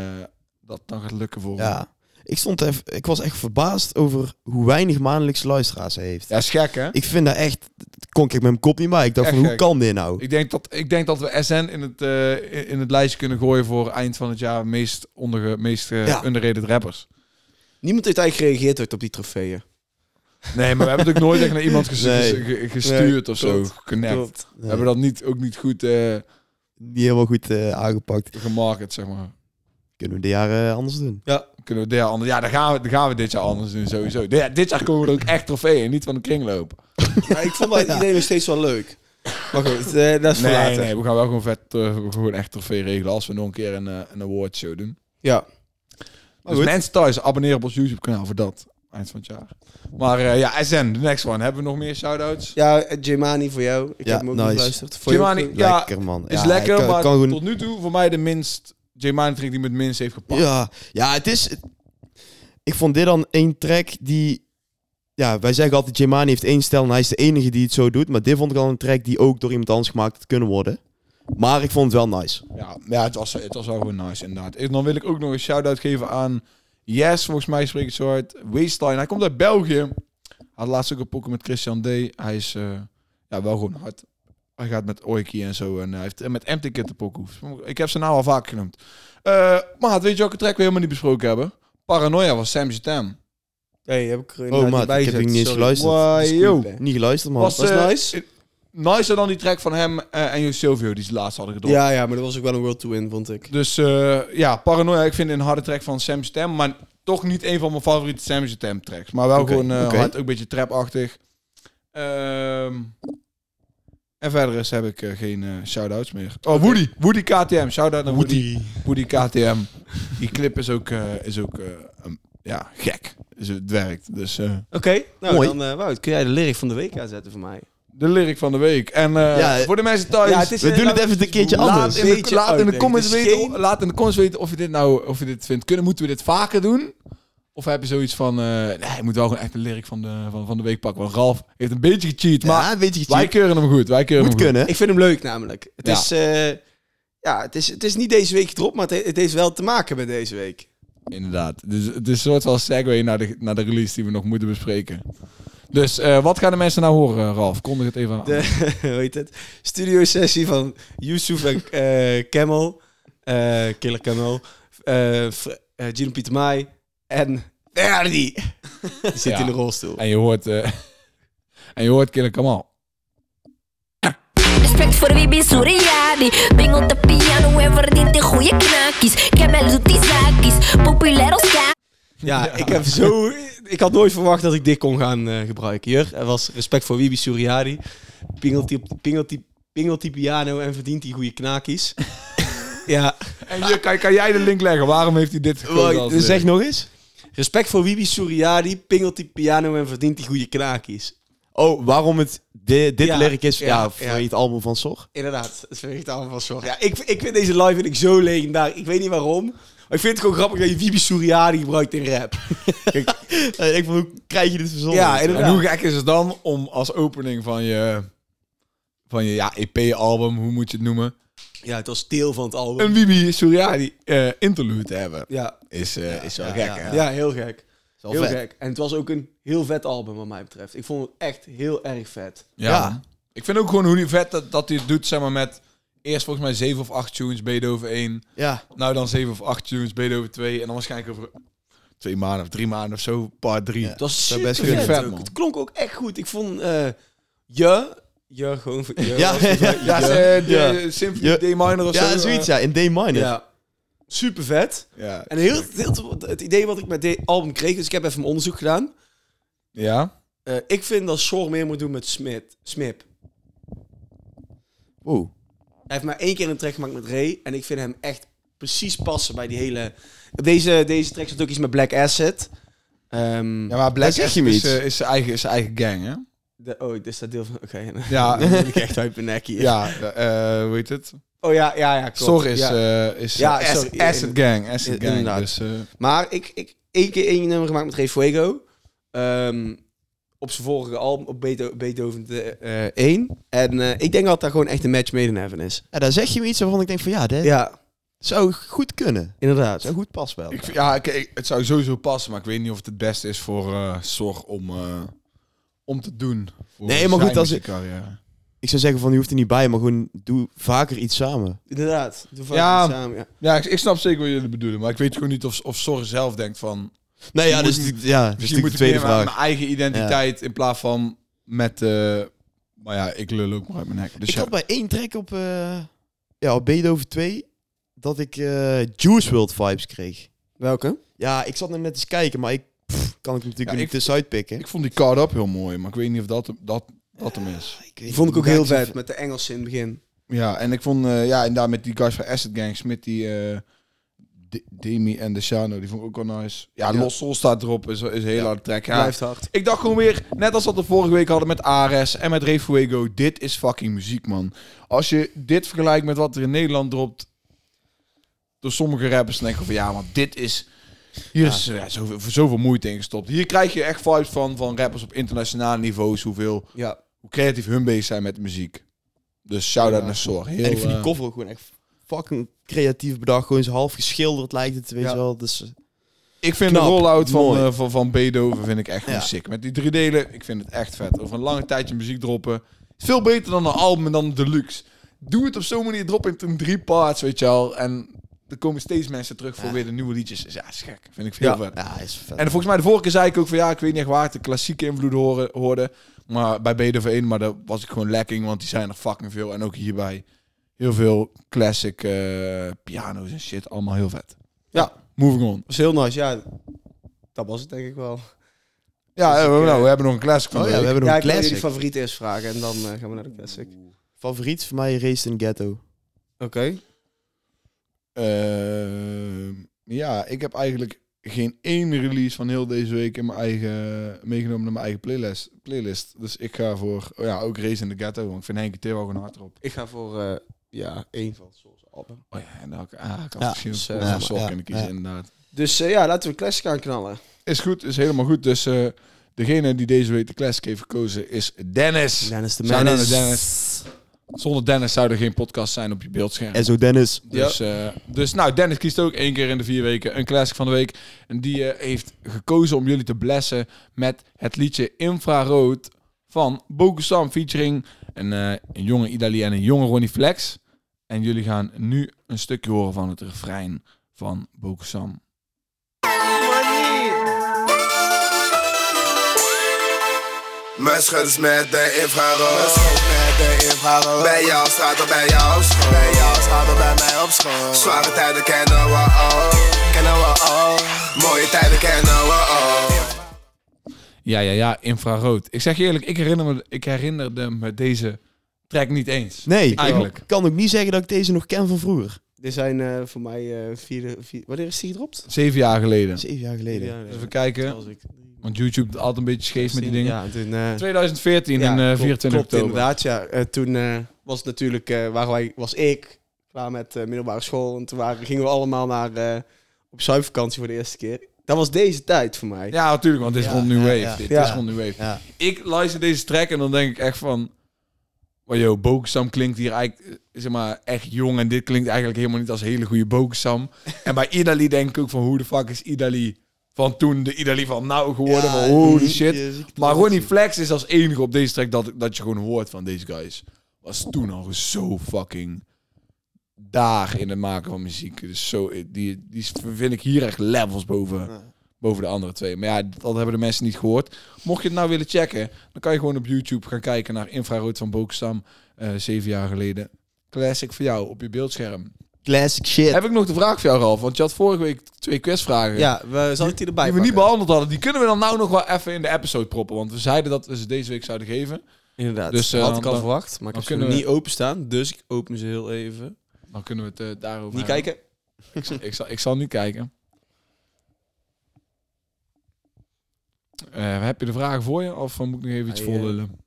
Speaker 1: dat dan gaat lukken voor hem.
Speaker 2: Ja. Ik, stond even, ik was echt verbaasd over hoe weinig maandelijks luisteraars hij heeft.
Speaker 1: Ja, is gek hè? Ik,
Speaker 2: Ik vind dat echt... Dat kon ik met mijn kop niet bij. Ik dacht
Speaker 1: Echt
Speaker 2: van, hoe
Speaker 1: gek.
Speaker 2: kan dit nou?
Speaker 1: denk dat ik denk dat we SN in het eh, in- in het lijstje kunnen gooien voor eind van het jaar meest onder meest eh,
Speaker 2: Ja.
Speaker 1: underrated rappers.
Speaker 3: Niemand heeft eigenlijk gereageerd ooit op die trofeeën.
Speaker 1: Nee, maar we hebben natuurlijk nooit echt naar iemand ges-
Speaker 2: Nee.
Speaker 1: ges- ge- gestuurd
Speaker 3: Nee,
Speaker 1: of zo,
Speaker 3: klopt.
Speaker 1: connect.
Speaker 2: Nee,
Speaker 1: We hebben dat niet, ook niet goed eh
Speaker 2: Niet helemaal goed eh, aangepakt.
Speaker 1: gemarket, zeg maar.
Speaker 2: Kunnen we dit jaar eh, anders doen?
Speaker 1: Ja. Kunnen we dit jaar anders... Ja, dan gaan we, dan gaan we dit jaar anders doen, sowieso. Dit, dit jaar komen we er ook echt trofeeën, niet van de kringloop.
Speaker 3: Ja, ik vond dat idee nog steeds wel leuk. Maar goed, eh, dat is voor
Speaker 1: Nee,
Speaker 3: later.
Speaker 1: nee, we gaan wel gewoon vet, eh, gewoon echt trofee regelen als we nog een keer een, eh, een awardshow doen.
Speaker 3: Ja.
Speaker 1: dus
Speaker 3: goed.
Speaker 1: mensen thuis, abonneer op ons YouTube-kanaal voor dat. Eind van het jaar. Maar eh, ja, SN, de next one. Hebben we nog meer shout-outs?
Speaker 3: Ja, eh, Jemani voor jou. Ik
Speaker 2: Ja,
Speaker 3: heb hem ook
Speaker 2: nice.
Speaker 3: niet geluisterd. Voor jou
Speaker 1: Jemani,
Speaker 3: ook, eh,
Speaker 1: ja,
Speaker 2: Lekker, man.
Speaker 1: is
Speaker 2: Ja,
Speaker 1: lekker,
Speaker 2: hij kan-
Speaker 1: maar
Speaker 2: kan gewoon-
Speaker 1: tot nu toe voor mij de minst... J. Mine die me het minst heeft gepakt.
Speaker 2: Ja, ja, het is... Ik vond dit dan één track die... Ja, wij zeggen altijd, Jemani heeft één stijl en hij is de enige die het zo doet. Maar dit vond ik al een track die ook door iemand anders gemaakt had kunnen worden. Maar ik vond het wel nice.
Speaker 1: Ja, ja het, was, het was wel gewoon nice, inderdaad. En dan wil ik ook nog een shout-out geven aan Yes, volgens mij spreekt het zo uit. Wasteline, hij komt uit België. Hij had laatst ook een poker met Christian D. Hij is eh, ja, wel gewoon hard. Hij gaat met Oiki en zo. En eh, hij heeft en met Empty Kid de pokoe. Ik heb zijn naam al vaak genoemd. Eh, maar weet je welke track we helemaal niet besproken hebben? Paranoia was Sam Jatam.
Speaker 3: Hey, heb ik er
Speaker 2: Oh,
Speaker 3: inderdaad
Speaker 2: maat,
Speaker 3: niet bij
Speaker 2: ik heb
Speaker 3: gezet,
Speaker 2: die niet eens
Speaker 3: sorry.
Speaker 2: geluisterd.
Speaker 1: Wauw,
Speaker 3: Dat is
Speaker 1: joh.
Speaker 3: goed, hè.
Speaker 2: Niet geluisterd, man.
Speaker 1: Was,
Speaker 3: was
Speaker 1: eh,
Speaker 3: nice.
Speaker 1: eh, Nicer dan die track van hem eh, en Jo Silvio die ze laatst hadden gedropt.
Speaker 3: Ja, ja, maar dat was ook wel een world to win, vond ik.
Speaker 1: Dus eh, ja, Paranoia, ik vind het een harde track van Sam Stem, maar toch niet een van mijn favoriete Sam Stem tracks. Maar wel
Speaker 2: Oké,
Speaker 1: gewoon eh,
Speaker 2: oké.
Speaker 1: hard, ook een beetje trapachtig. Ehm, en verder is, heb ik eh, geen eh, shout-outs meer. Oh, Woody. Woody KTM. Shout-out naar Woody. Woody KTM. Die clip is ook, eh, is ook eh, een- ja, gek. Dus het werkt. Dus eh,
Speaker 3: Oké, nou
Speaker 2: Mooi.
Speaker 3: dan eh, Wout, kun jij de lyric van de week aanzetten voor mij?
Speaker 1: de lyric van de week. En eh,
Speaker 2: Ja,
Speaker 1: voor de mensen thuis...
Speaker 3: ja, het is
Speaker 2: We doen het even een keertje
Speaker 1: Laat
Speaker 2: anders.
Speaker 1: in de-
Speaker 3: Beetje
Speaker 1: laat in de
Speaker 3: uitdenken.
Speaker 1: comments
Speaker 3: Het is
Speaker 1: weten,
Speaker 3: geen-
Speaker 1: laat in de comments weten of je dit nou of je dit vindt. Kunnen moeten we dit vaker doen? Of heb je zoiets van, eh nee, je moet wel gewoon echt de lyric van de, van, van de week pakken. Want Ralf heeft een beetje gecheat, maar
Speaker 2: Ja, weet je,
Speaker 1: wij keuren hem goed. Wij keuren
Speaker 2: moet
Speaker 1: hem goed.
Speaker 2: kunnen.
Speaker 3: Ik vind hem leuk namelijk. Het,
Speaker 1: Ja.
Speaker 3: is, eh, ja, het, is, het is niet deze week erop, maar het, he- het heeft wel te maken met deze week.
Speaker 1: Inderdaad. Dus het is een soort van segue naar de, naar de release die we nog moeten bespreken. Dus eh, wat gaan de mensen nou horen, Ralf? Kondig het even aan.
Speaker 3: De, hoe heet het? Studio sessie van Yusuf en eh Camel. eh, Killer Camel. eh Fr- eh, Gino Pieter Mai. En Verdi. Die zit
Speaker 1: Ja.
Speaker 3: in de rolstoel.
Speaker 1: En je hoort, eh, en je hoort Killer Kamal.
Speaker 4: Respect voor wie ben Suriani. Bing op de piano en verdient die goede knakjes. Camel doet die zaakjes, populair als ka.
Speaker 3: Ja, ik heb zo. Ik had nooit verwacht dat ik dit kon gaan eh, gebruiken. Jur, er was respect voor Wibi Suriadi. Pingelt die, pingelt die, pingelt die piano en verdient die goede knakies. ja,
Speaker 1: En hier, kan, kan jij de link leggen? Waarom heeft hij dit gekozen? als lyric?
Speaker 2: Zeg nog eens.
Speaker 3: respect voor Wibi Suriadi. Pingelt die piano en verdient die goede knakies.
Speaker 2: Oh, waarom het di- dit
Speaker 3: Ja,
Speaker 2: lyric is?
Speaker 3: ja,
Speaker 2: Ja, voor
Speaker 3: ja.
Speaker 2: het album van Sor.
Speaker 3: Inderdaad, dat vind ik het allemaal van zorg. Ja, ik, ik vind deze live vind ik zo legendarisch. Ik weet niet waarom. Maar ik vind het gewoon grappig dat je Wibi Suriani gebruikt in rap.
Speaker 2: Eh, ik van, hoe krijg je dit verzonnen?
Speaker 3: Ja, inderdaad.
Speaker 1: En hoe gek is het dan om als opening van je, van je ja, EP-album, hoe moet je het noemen,
Speaker 3: Ja, het was deel van het album.
Speaker 1: een Wibi Suriani eh, interlude te hebben?
Speaker 3: Ja,
Speaker 1: Is, eh, is wel
Speaker 2: ja,
Speaker 1: gek,
Speaker 2: ja.
Speaker 1: hè?
Speaker 3: ja. heel gek. Heel
Speaker 2: vet.
Speaker 3: gek. En het was ook een heel vet album wat mij betreft. Ik vond het echt heel erg vet.
Speaker 1: Ja.
Speaker 2: Ja.
Speaker 1: Ik vind ook gewoon hoe die vet dat, dat hij het doet, zeg maar, met eerst volgens mij 7 of 8 tunes, Beethoven 1.
Speaker 2: Ja,
Speaker 1: Nou dan 7 of 8 tunes, Beethoven 2. En dan waarschijnlijk over twee maanden of drie maanden of zo, part 3.
Speaker 2: Ja.
Speaker 3: Het
Speaker 2: Zou
Speaker 3: was super
Speaker 2: best
Speaker 3: best
Speaker 1: kunnen.
Speaker 3: vet,
Speaker 1: Vet,
Speaker 3: ook.
Speaker 1: man.
Speaker 3: Het klonk ook echt goed. Ik vond eh je, je gewoon voor je.
Speaker 2: Ja.
Speaker 3: was het, hè?
Speaker 1: Ja,
Speaker 2: Ja.
Speaker 1: ze- eh, de
Speaker 2: Ja.
Speaker 1: Symphony
Speaker 2: Ja.
Speaker 1: D minor of zo. eh.
Speaker 2: ja zoiets, ja. In D minor.
Speaker 3: ja. Super vet.
Speaker 1: Ja.
Speaker 3: En heel, heel, het idee wat ik met dit album kreeg, dus ik heb even mijn onderzoek gedaan.
Speaker 1: Ja.
Speaker 3: Eh, ik vind dat Shore meer moet doen met Smit, Smip.
Speaker 2: Wow.
Speaker 3: Hij heeft maar één keer een track gemaakt met Ray. En ik vind hem echt precies passen bij die hele... Deze, deze track zat ook iets met Black Asset. Ehm,
Speaker 1: Ja, maar Black
Speaker 2: zeg
Speaker 1: Sabbath
Speaker 2: je me
Speaker 1: is,
Speaker 2: iets.
Speaker 1: eh, is zijn eigen, is zijn eigen gang, hè?
Speaker 3: de- oh, dit is dat deel van... Oké,
Speaker 1: Ja.
Speaker 3: dan ben ik echt uit mijn nek hier.
Speaker 1: Ja, de, eh, hoe heet het?
Speaker 3: Oh ja, ja, ja, klopt.
Speaker 1: Sor is,
Speaker 3: Ja.
Speaker 1: eh, is
Speaker 3: Ja,
Speaker 1: eh, Ac-
Speaker 3: sorry.
Speaker 1: Acid Gang. Acid Gang.
Speaker 3: Inderdaad.
Speaker 1: Dus, eh,
Speaker 3: Maar ik, ik één keer één nummer gemaakt met Ray Fuego. Ehm, op zijn vorige album, op Beetho- Beethoven de, eh, 1. En eh, ik denk dat daar gewoon echt een match made in heaven is.
Speaker 2: Ja, daar zeg je me iets waarvan ik denk van, ja, dat
Speaker 3: Ja,
Speaker 2: zou goed kunnen.
Speaker 3: inderdaad.
Speaker 2: Zou goed pas wel.
Speaker 1: ik, vind- ja, ik- ik- het zou sowieso passen, maar ik weet niet of het het beste is voor eh Sor om, eh, om te doen. Voor
Speaker 2: Nee, maar
Speaker 1: zijn
Speaker 2: goed, als ik-
Speaker 1: muziekcarrière.
Speaker 2: Ik zou zeggen van, je hoeft er niet bij, maar gewoon doe vaker iets samen.
Speaker 3: Inderdaad. Doe vaak
Speaker 1: Ja.
Speaker 3: iets samen, ja.
Speaker 1: Ja, ik, ik snap zeker wat jullie bedoelen, maar ik weet gewoon niet of, of Sor zelf denkt van...
Speaker 2: Nee, ja,
Speaker 1: Je
Speaker 2: dus,
Speaker 1: moet niet-
Speaker 2: ja, dat is
Speaker 1: Misschien moet
Speaker 2: natuurlijk de
Speaker 1: ik
Speaker 2: tweede
Speaker 1: meer mijn-
Speaker 2: vraag.
Speaker 1: mijn eigen identiteit in plaats van met... eh, maar ja, ik lul ook maar uit mijn nek. Dus
Speaker 2: ik
Speaker 1: ja.
Speaker 2: had bij één track op, eh ja, op Beethoven 2 dat ik eh, Juice World vibes kreeg.
Speaker 3: Welke?
Speaker 2: Ja, ik zat nou net eens kijken, maar ik pff, kan ik hem natuurlijk
Speaker 1: Ja,
Speaker 2: niet
Speaker 1: ik-
Speaker 2: tussenuit pikken.
Speaker 1: Ik vond die card up heel mooi, maar ik weet niet of dat, dat, dat hem is.
Speaker 2: weet
Speaker 3: Die vond ik
Speaker 2: niet,
Speaker 3: ook heel
Speaker 2: maar ik-
Speaker 3: vet, met de Engelsen in het begin.
Speaker 1: Ja, en ik vond, eh, ja, en daar met die guys van Acid Gang, Smith, die eh, De- Demi en Deshano, die vond ik ook wel nice. Ja,
Speaker 3: Ja.
Speaker 1: Lost Soul staat erop, is, is een hele harde track. Ja.
Speaker 3: Blijft hard.
Speaker 1: Ik dacht gewoon weer, net als dat we vorige week hadden met Ares en met Ray Fuego, dit is fucking muziek, man. Als je dit vergelijkt met wat er in Nederland dropt, door sommige rappers denk ik van, ja, want dit is... Hier is eh, zoveel, voor zoveel moeite in gestopt. Hier krijg je echt vibes van, van rappers op internationale niveaus, hoeveel,
Speaker 3: Ja.
Speaker 1: hoe creatief hun bezig zijn met muziek. Dus shout-out
Speaker 3: Ja.
Speaker 1: naar Sor. Heel,
Speaker 2: En ik vind die
Speaker 1: eh,
Speaker 2: cover ook gewoon echt fucking creatief bedacht. Gewoon zo half geschilderd lijkt het, weet
Speaker 1: Ja.
Speaker 2: je wel. Dus, eh,
Speaker 1: Ik vind
Speaker 2: Knap,
Speaker 1: de rollout van,
Speaker 2: mooi.
Speaker 1: eh, van, van Beethoven vind ik echt gewoon
Speaker 2: Ja.
Speaker 1: sick. Met die drie delen, ik vind het echt vet. Over een lange tijdje muziek droppen. Is Veel beter dan een album en dan een deluxe. Doe het op zo'n manier, drop het in drie parts, weet je wel. En er komen steeds mensen terug voor
Speaker 2: Ja.
Speaker 1: weer de nieuwe liedjes. Dus ja, is gek. Vind ik veel
Speaker 3: Ja.
Speaker 1: vet.
Speaker 2: ja, is vet.
Speaker 1: En volgens mij de vorige keer zei ik ook van ja, ik weet niet echt waar ik de klassieke invloeden horen, hoorde. Maar bij Beethoven 1, maar daar was ik gewoon lekking, want die zijn er fucking veel. En ook hierbij heel veel classic eh, piano's en shit. Allemaal heel vet.
Speaker 3: Ja.
Speaker 1: Moving on.
Speaker 3: was heel nice, ja. Dat was het denk ik wel.
Speaker 1: Ja, eh,
Speaker 3: ik, eh,
Speaker 1: nou, we hebben nog een classic van
Speaker 2: Dus Oh
Speaker 1: de
Speaker 2: ja, we
Speaker 1: week.
Speaker 2: hebben nog
Speaker 3: ja,
Speaker 2: een
Speaker 3: ik wil
Speaker 2: classic.
Speaker 3: jullie favoriet eerst vragen en dan eh, gaan we naar de classic. Oké.
Speaker 2: Favoriet voor mij Race in Ghetto.
Speaker 1: Ehm, ja, ik heb eigenlijk geen één release van heel deze week in mijn eigen, meegenomen naar mijn eigen playlist. playlist. Dus ik ga voor, oh ja, ook Race in the Ghetto, want ik vind Henk T wel gewoon hard erop.
Speaker 3: Ik ga voor, eh, ja, één van Soul's album.
Speaker 1: Oh ja, en dan ah, ik had
Speaker 2: Ja,
Speaker 1: misschien
Speaker 3: dus,
Speaker 1: een
Speaker 3: eh,
Speaker 1: voor
Speaker 2: ja,
Speaker 1: Zorg
Speaker 2: ja,
Speaker 1: kunnen kiezen,
Speaker 2: ja.
Speaker 1: inderdaad.
Speaker 3: Dus eh, ja, laten we classic gaan knallen.
Speaker 1: Is goed, is helemaal goed. Dus eh, degene die deze week de classic heeft gekozen is Dennis.
Speaker 3: Dennis de
Speaker 1: Shout-out naar Zonder Dennis zou er geen podcast zijn op je beeldscherm.
Speaker 2: SO Dennis.
Speaker 1: Dus, eh, dus nou, Dennis kiest ook één keer in de vier weken een classic van de week. En die eh, heeft gekozen om jullie te blessen met het liedje Infrarood van Bokusam featuring een, eh, een jonge Idali en een jonge Ronnie Flex. En jullie gaan nu een stukje horen van het refrein van Bokusam.
Speaker 5: Mijn schutters met de infrarood. met de infrarood. Bij jou staat er bij jou op school. Bij jou staat er bij mij op school. Zware tijden kennen we al. Kennen we al. Mooie tijden kennen we al.
Speaker 1: Ja, ja, ja, Infrarood. Ik zeg je eerlijk, ik herinner me, ik herinnerde me deze track niet eens.
Speaker 2: Nee, ik
Speaker 1: Eigenlijk.
Speaker 2: kan ook niet zeggen dat ik deze nog ken van vroeger.
Speaker 3: Dit zijn eh, voor mij eh, vier, vier... Wanneer is die gedropt?
Speaker 1: Zeven jaar geleden.
Speaker 2: Zeven jaar geleden.
Speaker 3: Ja,
Speaker 1: Even kijken,
Speaker 3: Als ik...
Speaker 1: want YouTube doet altijd een beetje scheef met die dingen.
Speaker 3: Ja, toen... eh,
Speaker 1: 2014
Speaker 3: ja,
Speaker 1: en eh,
Speaker 3: klopt-
Speaker 1: 24
Speaker 3: klopt,
Speaker 1: oktober.
Speaker 3: inderdaad, ja. Eh, toen eh, was het natuurlijk... eh, waren wij, was ik klaar met eh, middelbare school. En toen waren, gingen we allemaal naar... eh, op zuivervakantie voor de eerste keer. Dat was deze tijd voor mij.
Speaker 1: Ja, natuurlijk, want dit is
Speaker 6: Ja,
Speaker 1: rond New
Speaker 6: ja,
Speaker 1: Wave.
Speaker 6: ja.
Speaker 1: Dit
Speaker 3: Ja.
Speaker 1: is rond New Wave.
Speaker 6: Ja.
Speaker 1: Ik luister deze track en dan denk ik echt van... Wow, yo, Bokusam klinkt hier eigenlijk eh, zeg maar, echt jong. En dit klinkt eigenlijk helemaal niet als een hele goede Bokusam. en bij Idali denk ik ook van... Hoe de fuck is Idali van toen de Idali van nou geworden? van holy shit. Maar Ronnie Flex is als enige op deze track dat, dat je gewoon hoort van deze guys. Was toen al zo fucking daar in het maken van muziek. Dus zo, die, die vind ik hier echt levels boven, boven de andere twee. Maar ja, dat hebben de mensen niet gehoord. Mocht je het nou willen checken, dan kan je gewoon op YouTube gaan kijken naar Infrarood van Bokstam. eh, zeven jaar geleden. Classic voor jou op je beeldscherm.
Speaker 6: Classic shit.
Speaker 1: Heb ik nog de vraag voor jou, Ralf? Want je had vorige week twee quizvragen.
Speaker 3: Ja, we, zal ik die erbij
Speaker 1: Die we niet
Speaker 3: pakken?
Speaker 1: behandeld hadden, die kunnen we dan nou nog wel even in de episode proppen. Want we zeiden dat we ze deze week zouden geven.
Speaker 3: Inderdaad.
Speaker 1: Dus,
Speaker 3: Dus,
Speaker 1: eh,
Speaker 3: had ik al
Speaker 1: dan-
Speaker 3: verwacht, maar
Speaker 1: dan
Speaker 3: ik heb ze
Speaker 1: kunnen we-
Speaker 3: niet openstaan. Dus ik open ze heel even.
Speaker 1: Dan kunnen we het eh, daarover
Speaker 3: Niet
Speaker 1: hebben.
Speaker 3: kijken.
Speaker 1: ik, zal, ik zal niet kijken. Eh, heb je de vragen voor je? Of eh, moet ik nog even iets
Speaker 3: Ah, ja.
Speaker 1: voorlullen?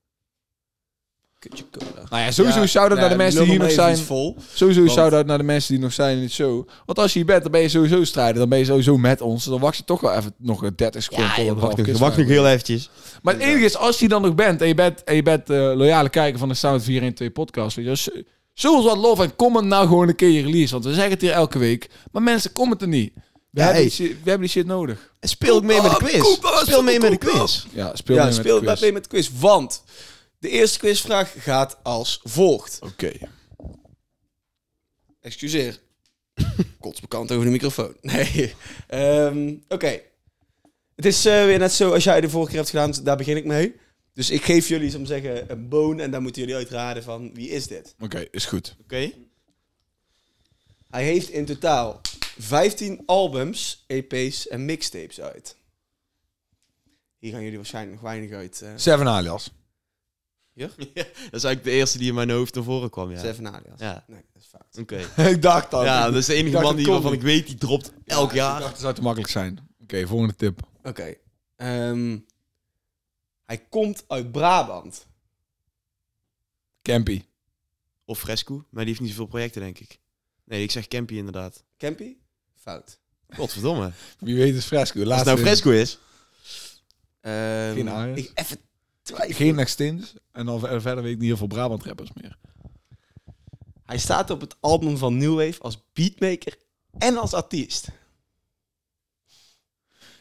Speaker 3: Kutje cola.
Speaker 1: Nou ja, sowieso shout-out
Speaker 3: nou,
Speaker 1: naar de mensen
Speaker 3: lul
Speaker 1: die hier
Speaker 3: nog
Speaker 1: nog
Speaker 3: even
Speaker 1: zijn.
Speaker 3: iets vol.
Speaker 1: Sowieso
Speaker 3: want-
Speaker 1: shout-out naar de mensen die nog zijn in het show. Want als je hier bent, dan ben je sowieso strijder. Dan ben je sowieso met ons. Dan wacht je toch wel even nog een 30 seconden.
Speaker 2: Ja,
Speaker 1: voor
Speaker 2: je
Speaker 1: de
Speaker 2: wacht, nog,
Speaker 1: half
Speaker 2: wacht nog heel eventjes.
Speaker 1: Maar het enige is, als je dan nog bent en je bent, en je bent eh, loyale kijker van de Sound 412 podcast, weet je, dus, zo- zo is wat lof en comment nou gewoon een keer je release. Want we zeggen het hier elke week, maar mensen commenten niet. We, hebben,
Speaker 2: hey.
Speaker 1: die shit, we hebben die shit nodig.
Speaker 2: En speel ook mee met
Speaker 1: Oh,
Speaker 2: de quiz.
Speaker 3: koop,
Speaker 2: Speel mee met de
Speaker 3: koop,
Speaker 2: quiz.
Speaker 1: Ja, speel
Speaker 3: ja,
Speaker 1: mee met
Speaker 3: speel
Speaker 1: de quiz.
Speaker 3: mee met de quiz. Want de eerste quizvraag gaat als volgt.
Speaker 1: Oké.
Speaker 3: Excuseer. Kotsbekant over de microfoon. Nee. Ehm, Oké. Het is eh, weer net zo als jij de vorige keer hebt gedaan. Daar begin ik mee. Dus ik geef jullie, zal ik maar zeggen, een boon. En dan moeten jullie uitraden van wie is dit.
Speaker 1: Oké, is goed.
Speaker 2: Oké.
Speaker 3: Hij heeft in totaal 15 albums, EP's en mixtapes uit. Hier gaan jullie waarschijnlijk nog weinig uit. eh
Speaker 1: Seven Alias.
Speaker 2: Dat is eigenlijk de eerste die in mijn hoofd naar voren kwam, ja.
Speaker 3: Seven alias.
Speaker 2: Ja.
Speaker 3: Nee, dat is fout.
Speaker 2: Oké.
Speaker 1: ik dacht al.
Speaker 2: Ja, dat is de
Speaker 1: Ik
Speaker 2: enige
Speaker 1: dacht,
Speaker 2: man
Speaker 1: dat
Speaker 2: die,
Speaker 1: kon
Speaker 2: waarvan
Speaker 1: niet.
Speaker 2: ik weet, die dropt elk
Speaker 1: Ik dacht,
Speaker 2: jaar.
Speaker 1: het zou te makkelijk zijn. Oké, volgende tip.
Speaker 3: Oké. Ehm, hij komt uit Brabant.
Speaker 1: Campy.
Speaker 2: Of Fresco, maar die heeft niet zoveel projecten, denk ik. Nee, ik zeg Campy inderdaad.
Speaker 3: Campy? Fout.
Speaker 2: Godverdomme.
Speaker 1: Wie weet is Fresco.
Speaker 2: Als het
Speaker 1: Laatste
Speaker 2: nou Fresco is.
Speaker 3: Ehm,
Speaker 1: Geen Arias.
Speaker 3: Ik even twijfel.
Speaker 1: Geen extins. En dan ver- verder weet ik niet heel veel Brabant rappers meer.
Speaker 3: Hij staat op het album van New Wave als beatmaker en als artiest.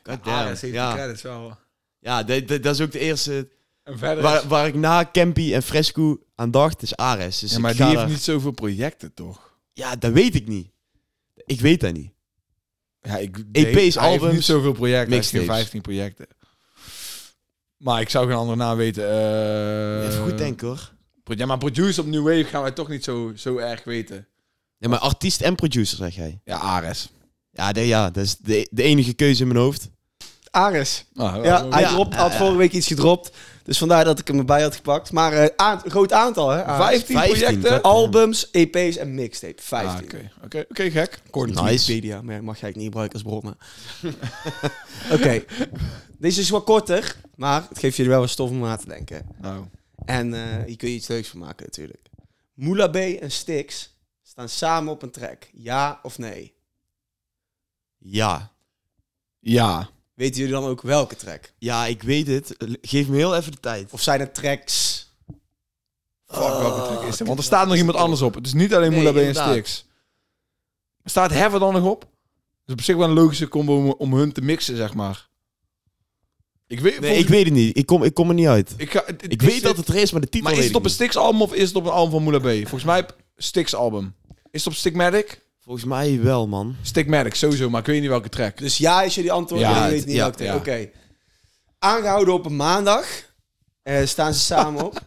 Speaker 2: God Ah,
Speaker 1: Ah,
Speaker 2: damn. Ja,
Speaker 1: credits wel.
Speaker 2: ja dat- dat dat is ook de eerste...
Speaker 1: En verder is-
Speaker 2: Waar, waar ik na Campy en Fresco aan dacht, is Ares. Dus
Speaker 1: Ja,
Speaker 2: ik
Speaker 1: maar
Speaker 2: ga
Speaker 1: die heeft
Speaker 2: daar-
Speaker 1: niet zoveel projecten, toch?
Speaker 2: Ja, dat weet ik niet. Ik weet dat niet.
Speaker 1: Ja, ik
Speaker 2: EP's,
Speaker 1: hij heeft
Speaker 2: albums,
Speaker 1: niet zoveel projecten. Hij heeft geen
Speaker 2: mixtapes.
Speaker 1: 15 projecten. Maar ik zou geen andere naam weten. Eh,
Speaker 2: Even goed denken hoor.
Speaker 1: pro- Ja, maar produce op New Wave gaan wij toch niet zo, zo erg weten.
Speaker 2: Ja, maar artiest en producer zeg jij.
Speaker 1: Ja, Ares.
Speaker 2: Ja, de- ja dat is de, de enige keuze in mijn hoofd.
Speaker 3: Ares.
Speaker 1: Nou,
Speaker 3: Ja,
Speaker 1: eh,
Speaker 3: hij
Speaker 2: ja,
Speaker 3: dropt,
Speaker 2: ja,
Speaker 3: had
Speaker 2: ja.
Speaker 3: vorige week iets gedropt. Dus vandaar dat ik hem erbij had gepakt. Maar eh, aan- een groot aantal, hè? Ares.
Speaker 1: 15,
Speaker 2: 15,
Speaker 1: projecten?
Speaker 2: dat-
Speaker 3: Albums, EP's en mixtape. 15.
Speaker 1: Ah, Oké, oké, oké, gek.
Speaker 3: According to
Speaker 2: Nice.
Speaker 3: Wikipedia. Maar ja, mag jij niet gebruiken als bron, maar... Oké. Deze is dus wat korter, maar het geeft jullie wel wat stof om na te denken.
Speaker 1: Nou,
Speaker 3: En eh, hier kun je iets leuks van maken natuurlijk. Moula B en Stix staan samen op een track. Ja of nee?
Speaker 2: Ja.
Speaker 1: ja.
Speaker 3: Weten jullie dan ook welke track?
Speaker 2: Ja, ik weet het. Geef me heel even de tijd.
Speaker 3: Of zijn het tracks?
Speaker 1: Fuck, welke track is dit? Want er staat nog iemand anders op. Het is niet alleen Moela B en
Speaker 2: inderdaad.
Speaker 1: Stix. Er staat Heaven dan nog op? Dus op zich wel een logische combo om, om hun te mixen, zeg maar. Ik weet,
Speaker 2: Nee, ik weet het niet. Ik kom, ik kom er niet uit.
Speaker 1: ik, ga,
Speaker 2: Ik weet dat het er is, maar de titel
Speaker 1: Maar is
Speaker 2: weet
Speaker 1: het op
Speaker 2: ik
Speaker 1: een
Speaker 2: niet.
Speaker 1: Stix album of is het op een album van Moula B? Volgens mij op Stix album. Is het op Stigmatic?
Speaker 2: Volgens mij wel, man.
Speaker 1: Stigmatic sowieso, maar ik weet niet welke track.
Speaker 3: Dus ja is jullie antwoord.
Speaker 1: Ja,
Speaker 3: Ja,
Speaker 1: het-
Speaker 3: weet niet
Speaker 2: ja,
Speaker 3: welke track.
Speaker 1: ja.
Speaker 3: Oké. Aangehouden op een maandag. eh, staan ze samen op.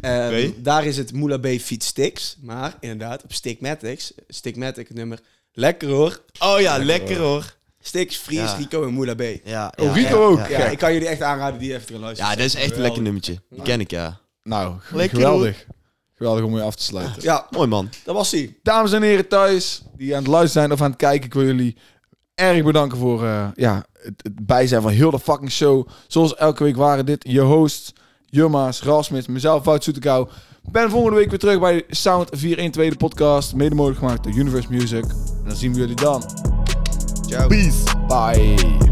Speaker 3: Ehm,
Speaker 2: Oké.
Speaker 3: Daar is het Moula B feat Stix. Maar inderdaad, op Stigmatics. Stigmatic het nummer. Lekker hoor.
Speaker 2: Oh ja, lekker hoor.
Speaker 3: Stix, Fries,
Speaker 2: Ja.
Speaker 3: Rico en Moula B.
Speaker 2: Ja,
Speaker 1: Oh,
Speaker 2: ja,
Speaker 1: Rico
Speaker 2: ja,
Speaker 1: ook.
Speaker 2: Ja.
Speaker 3: Ja, ik kan jullie echt aanraden die even te gaan luisteren.
Speaker 2: Ja, dat is echt een lekker nummertje. Die ken ik, ja.
Speaker 1: Nou, g-
Speaker 2: Lekker,
Speaker 1: geweldig. Geweldig om je af te sluiten.
Speaker 3: Ja,
Speaker 2: Mooi, man.
Speaker 3: dat was hij.
Speaker 1: Dames en heren thuis, die aan het luisteren zijn of aan het kijken, ik wil jullie erg bedanken voor eh, ja, het, het bijzijn van heel de fucking show. Zoals elke week waren dit je hosts, Jumma's, Rasmus, mezelf, Wout Soetekou. Ben volgende week weer terug bij Sound 412, de podcast, mede mogelijk gemaakt door Universe Music. En dan zien we jullie dan.
Speaker 3: Ciao.
Speaker 2: Peace.
Speaker 1: Bye.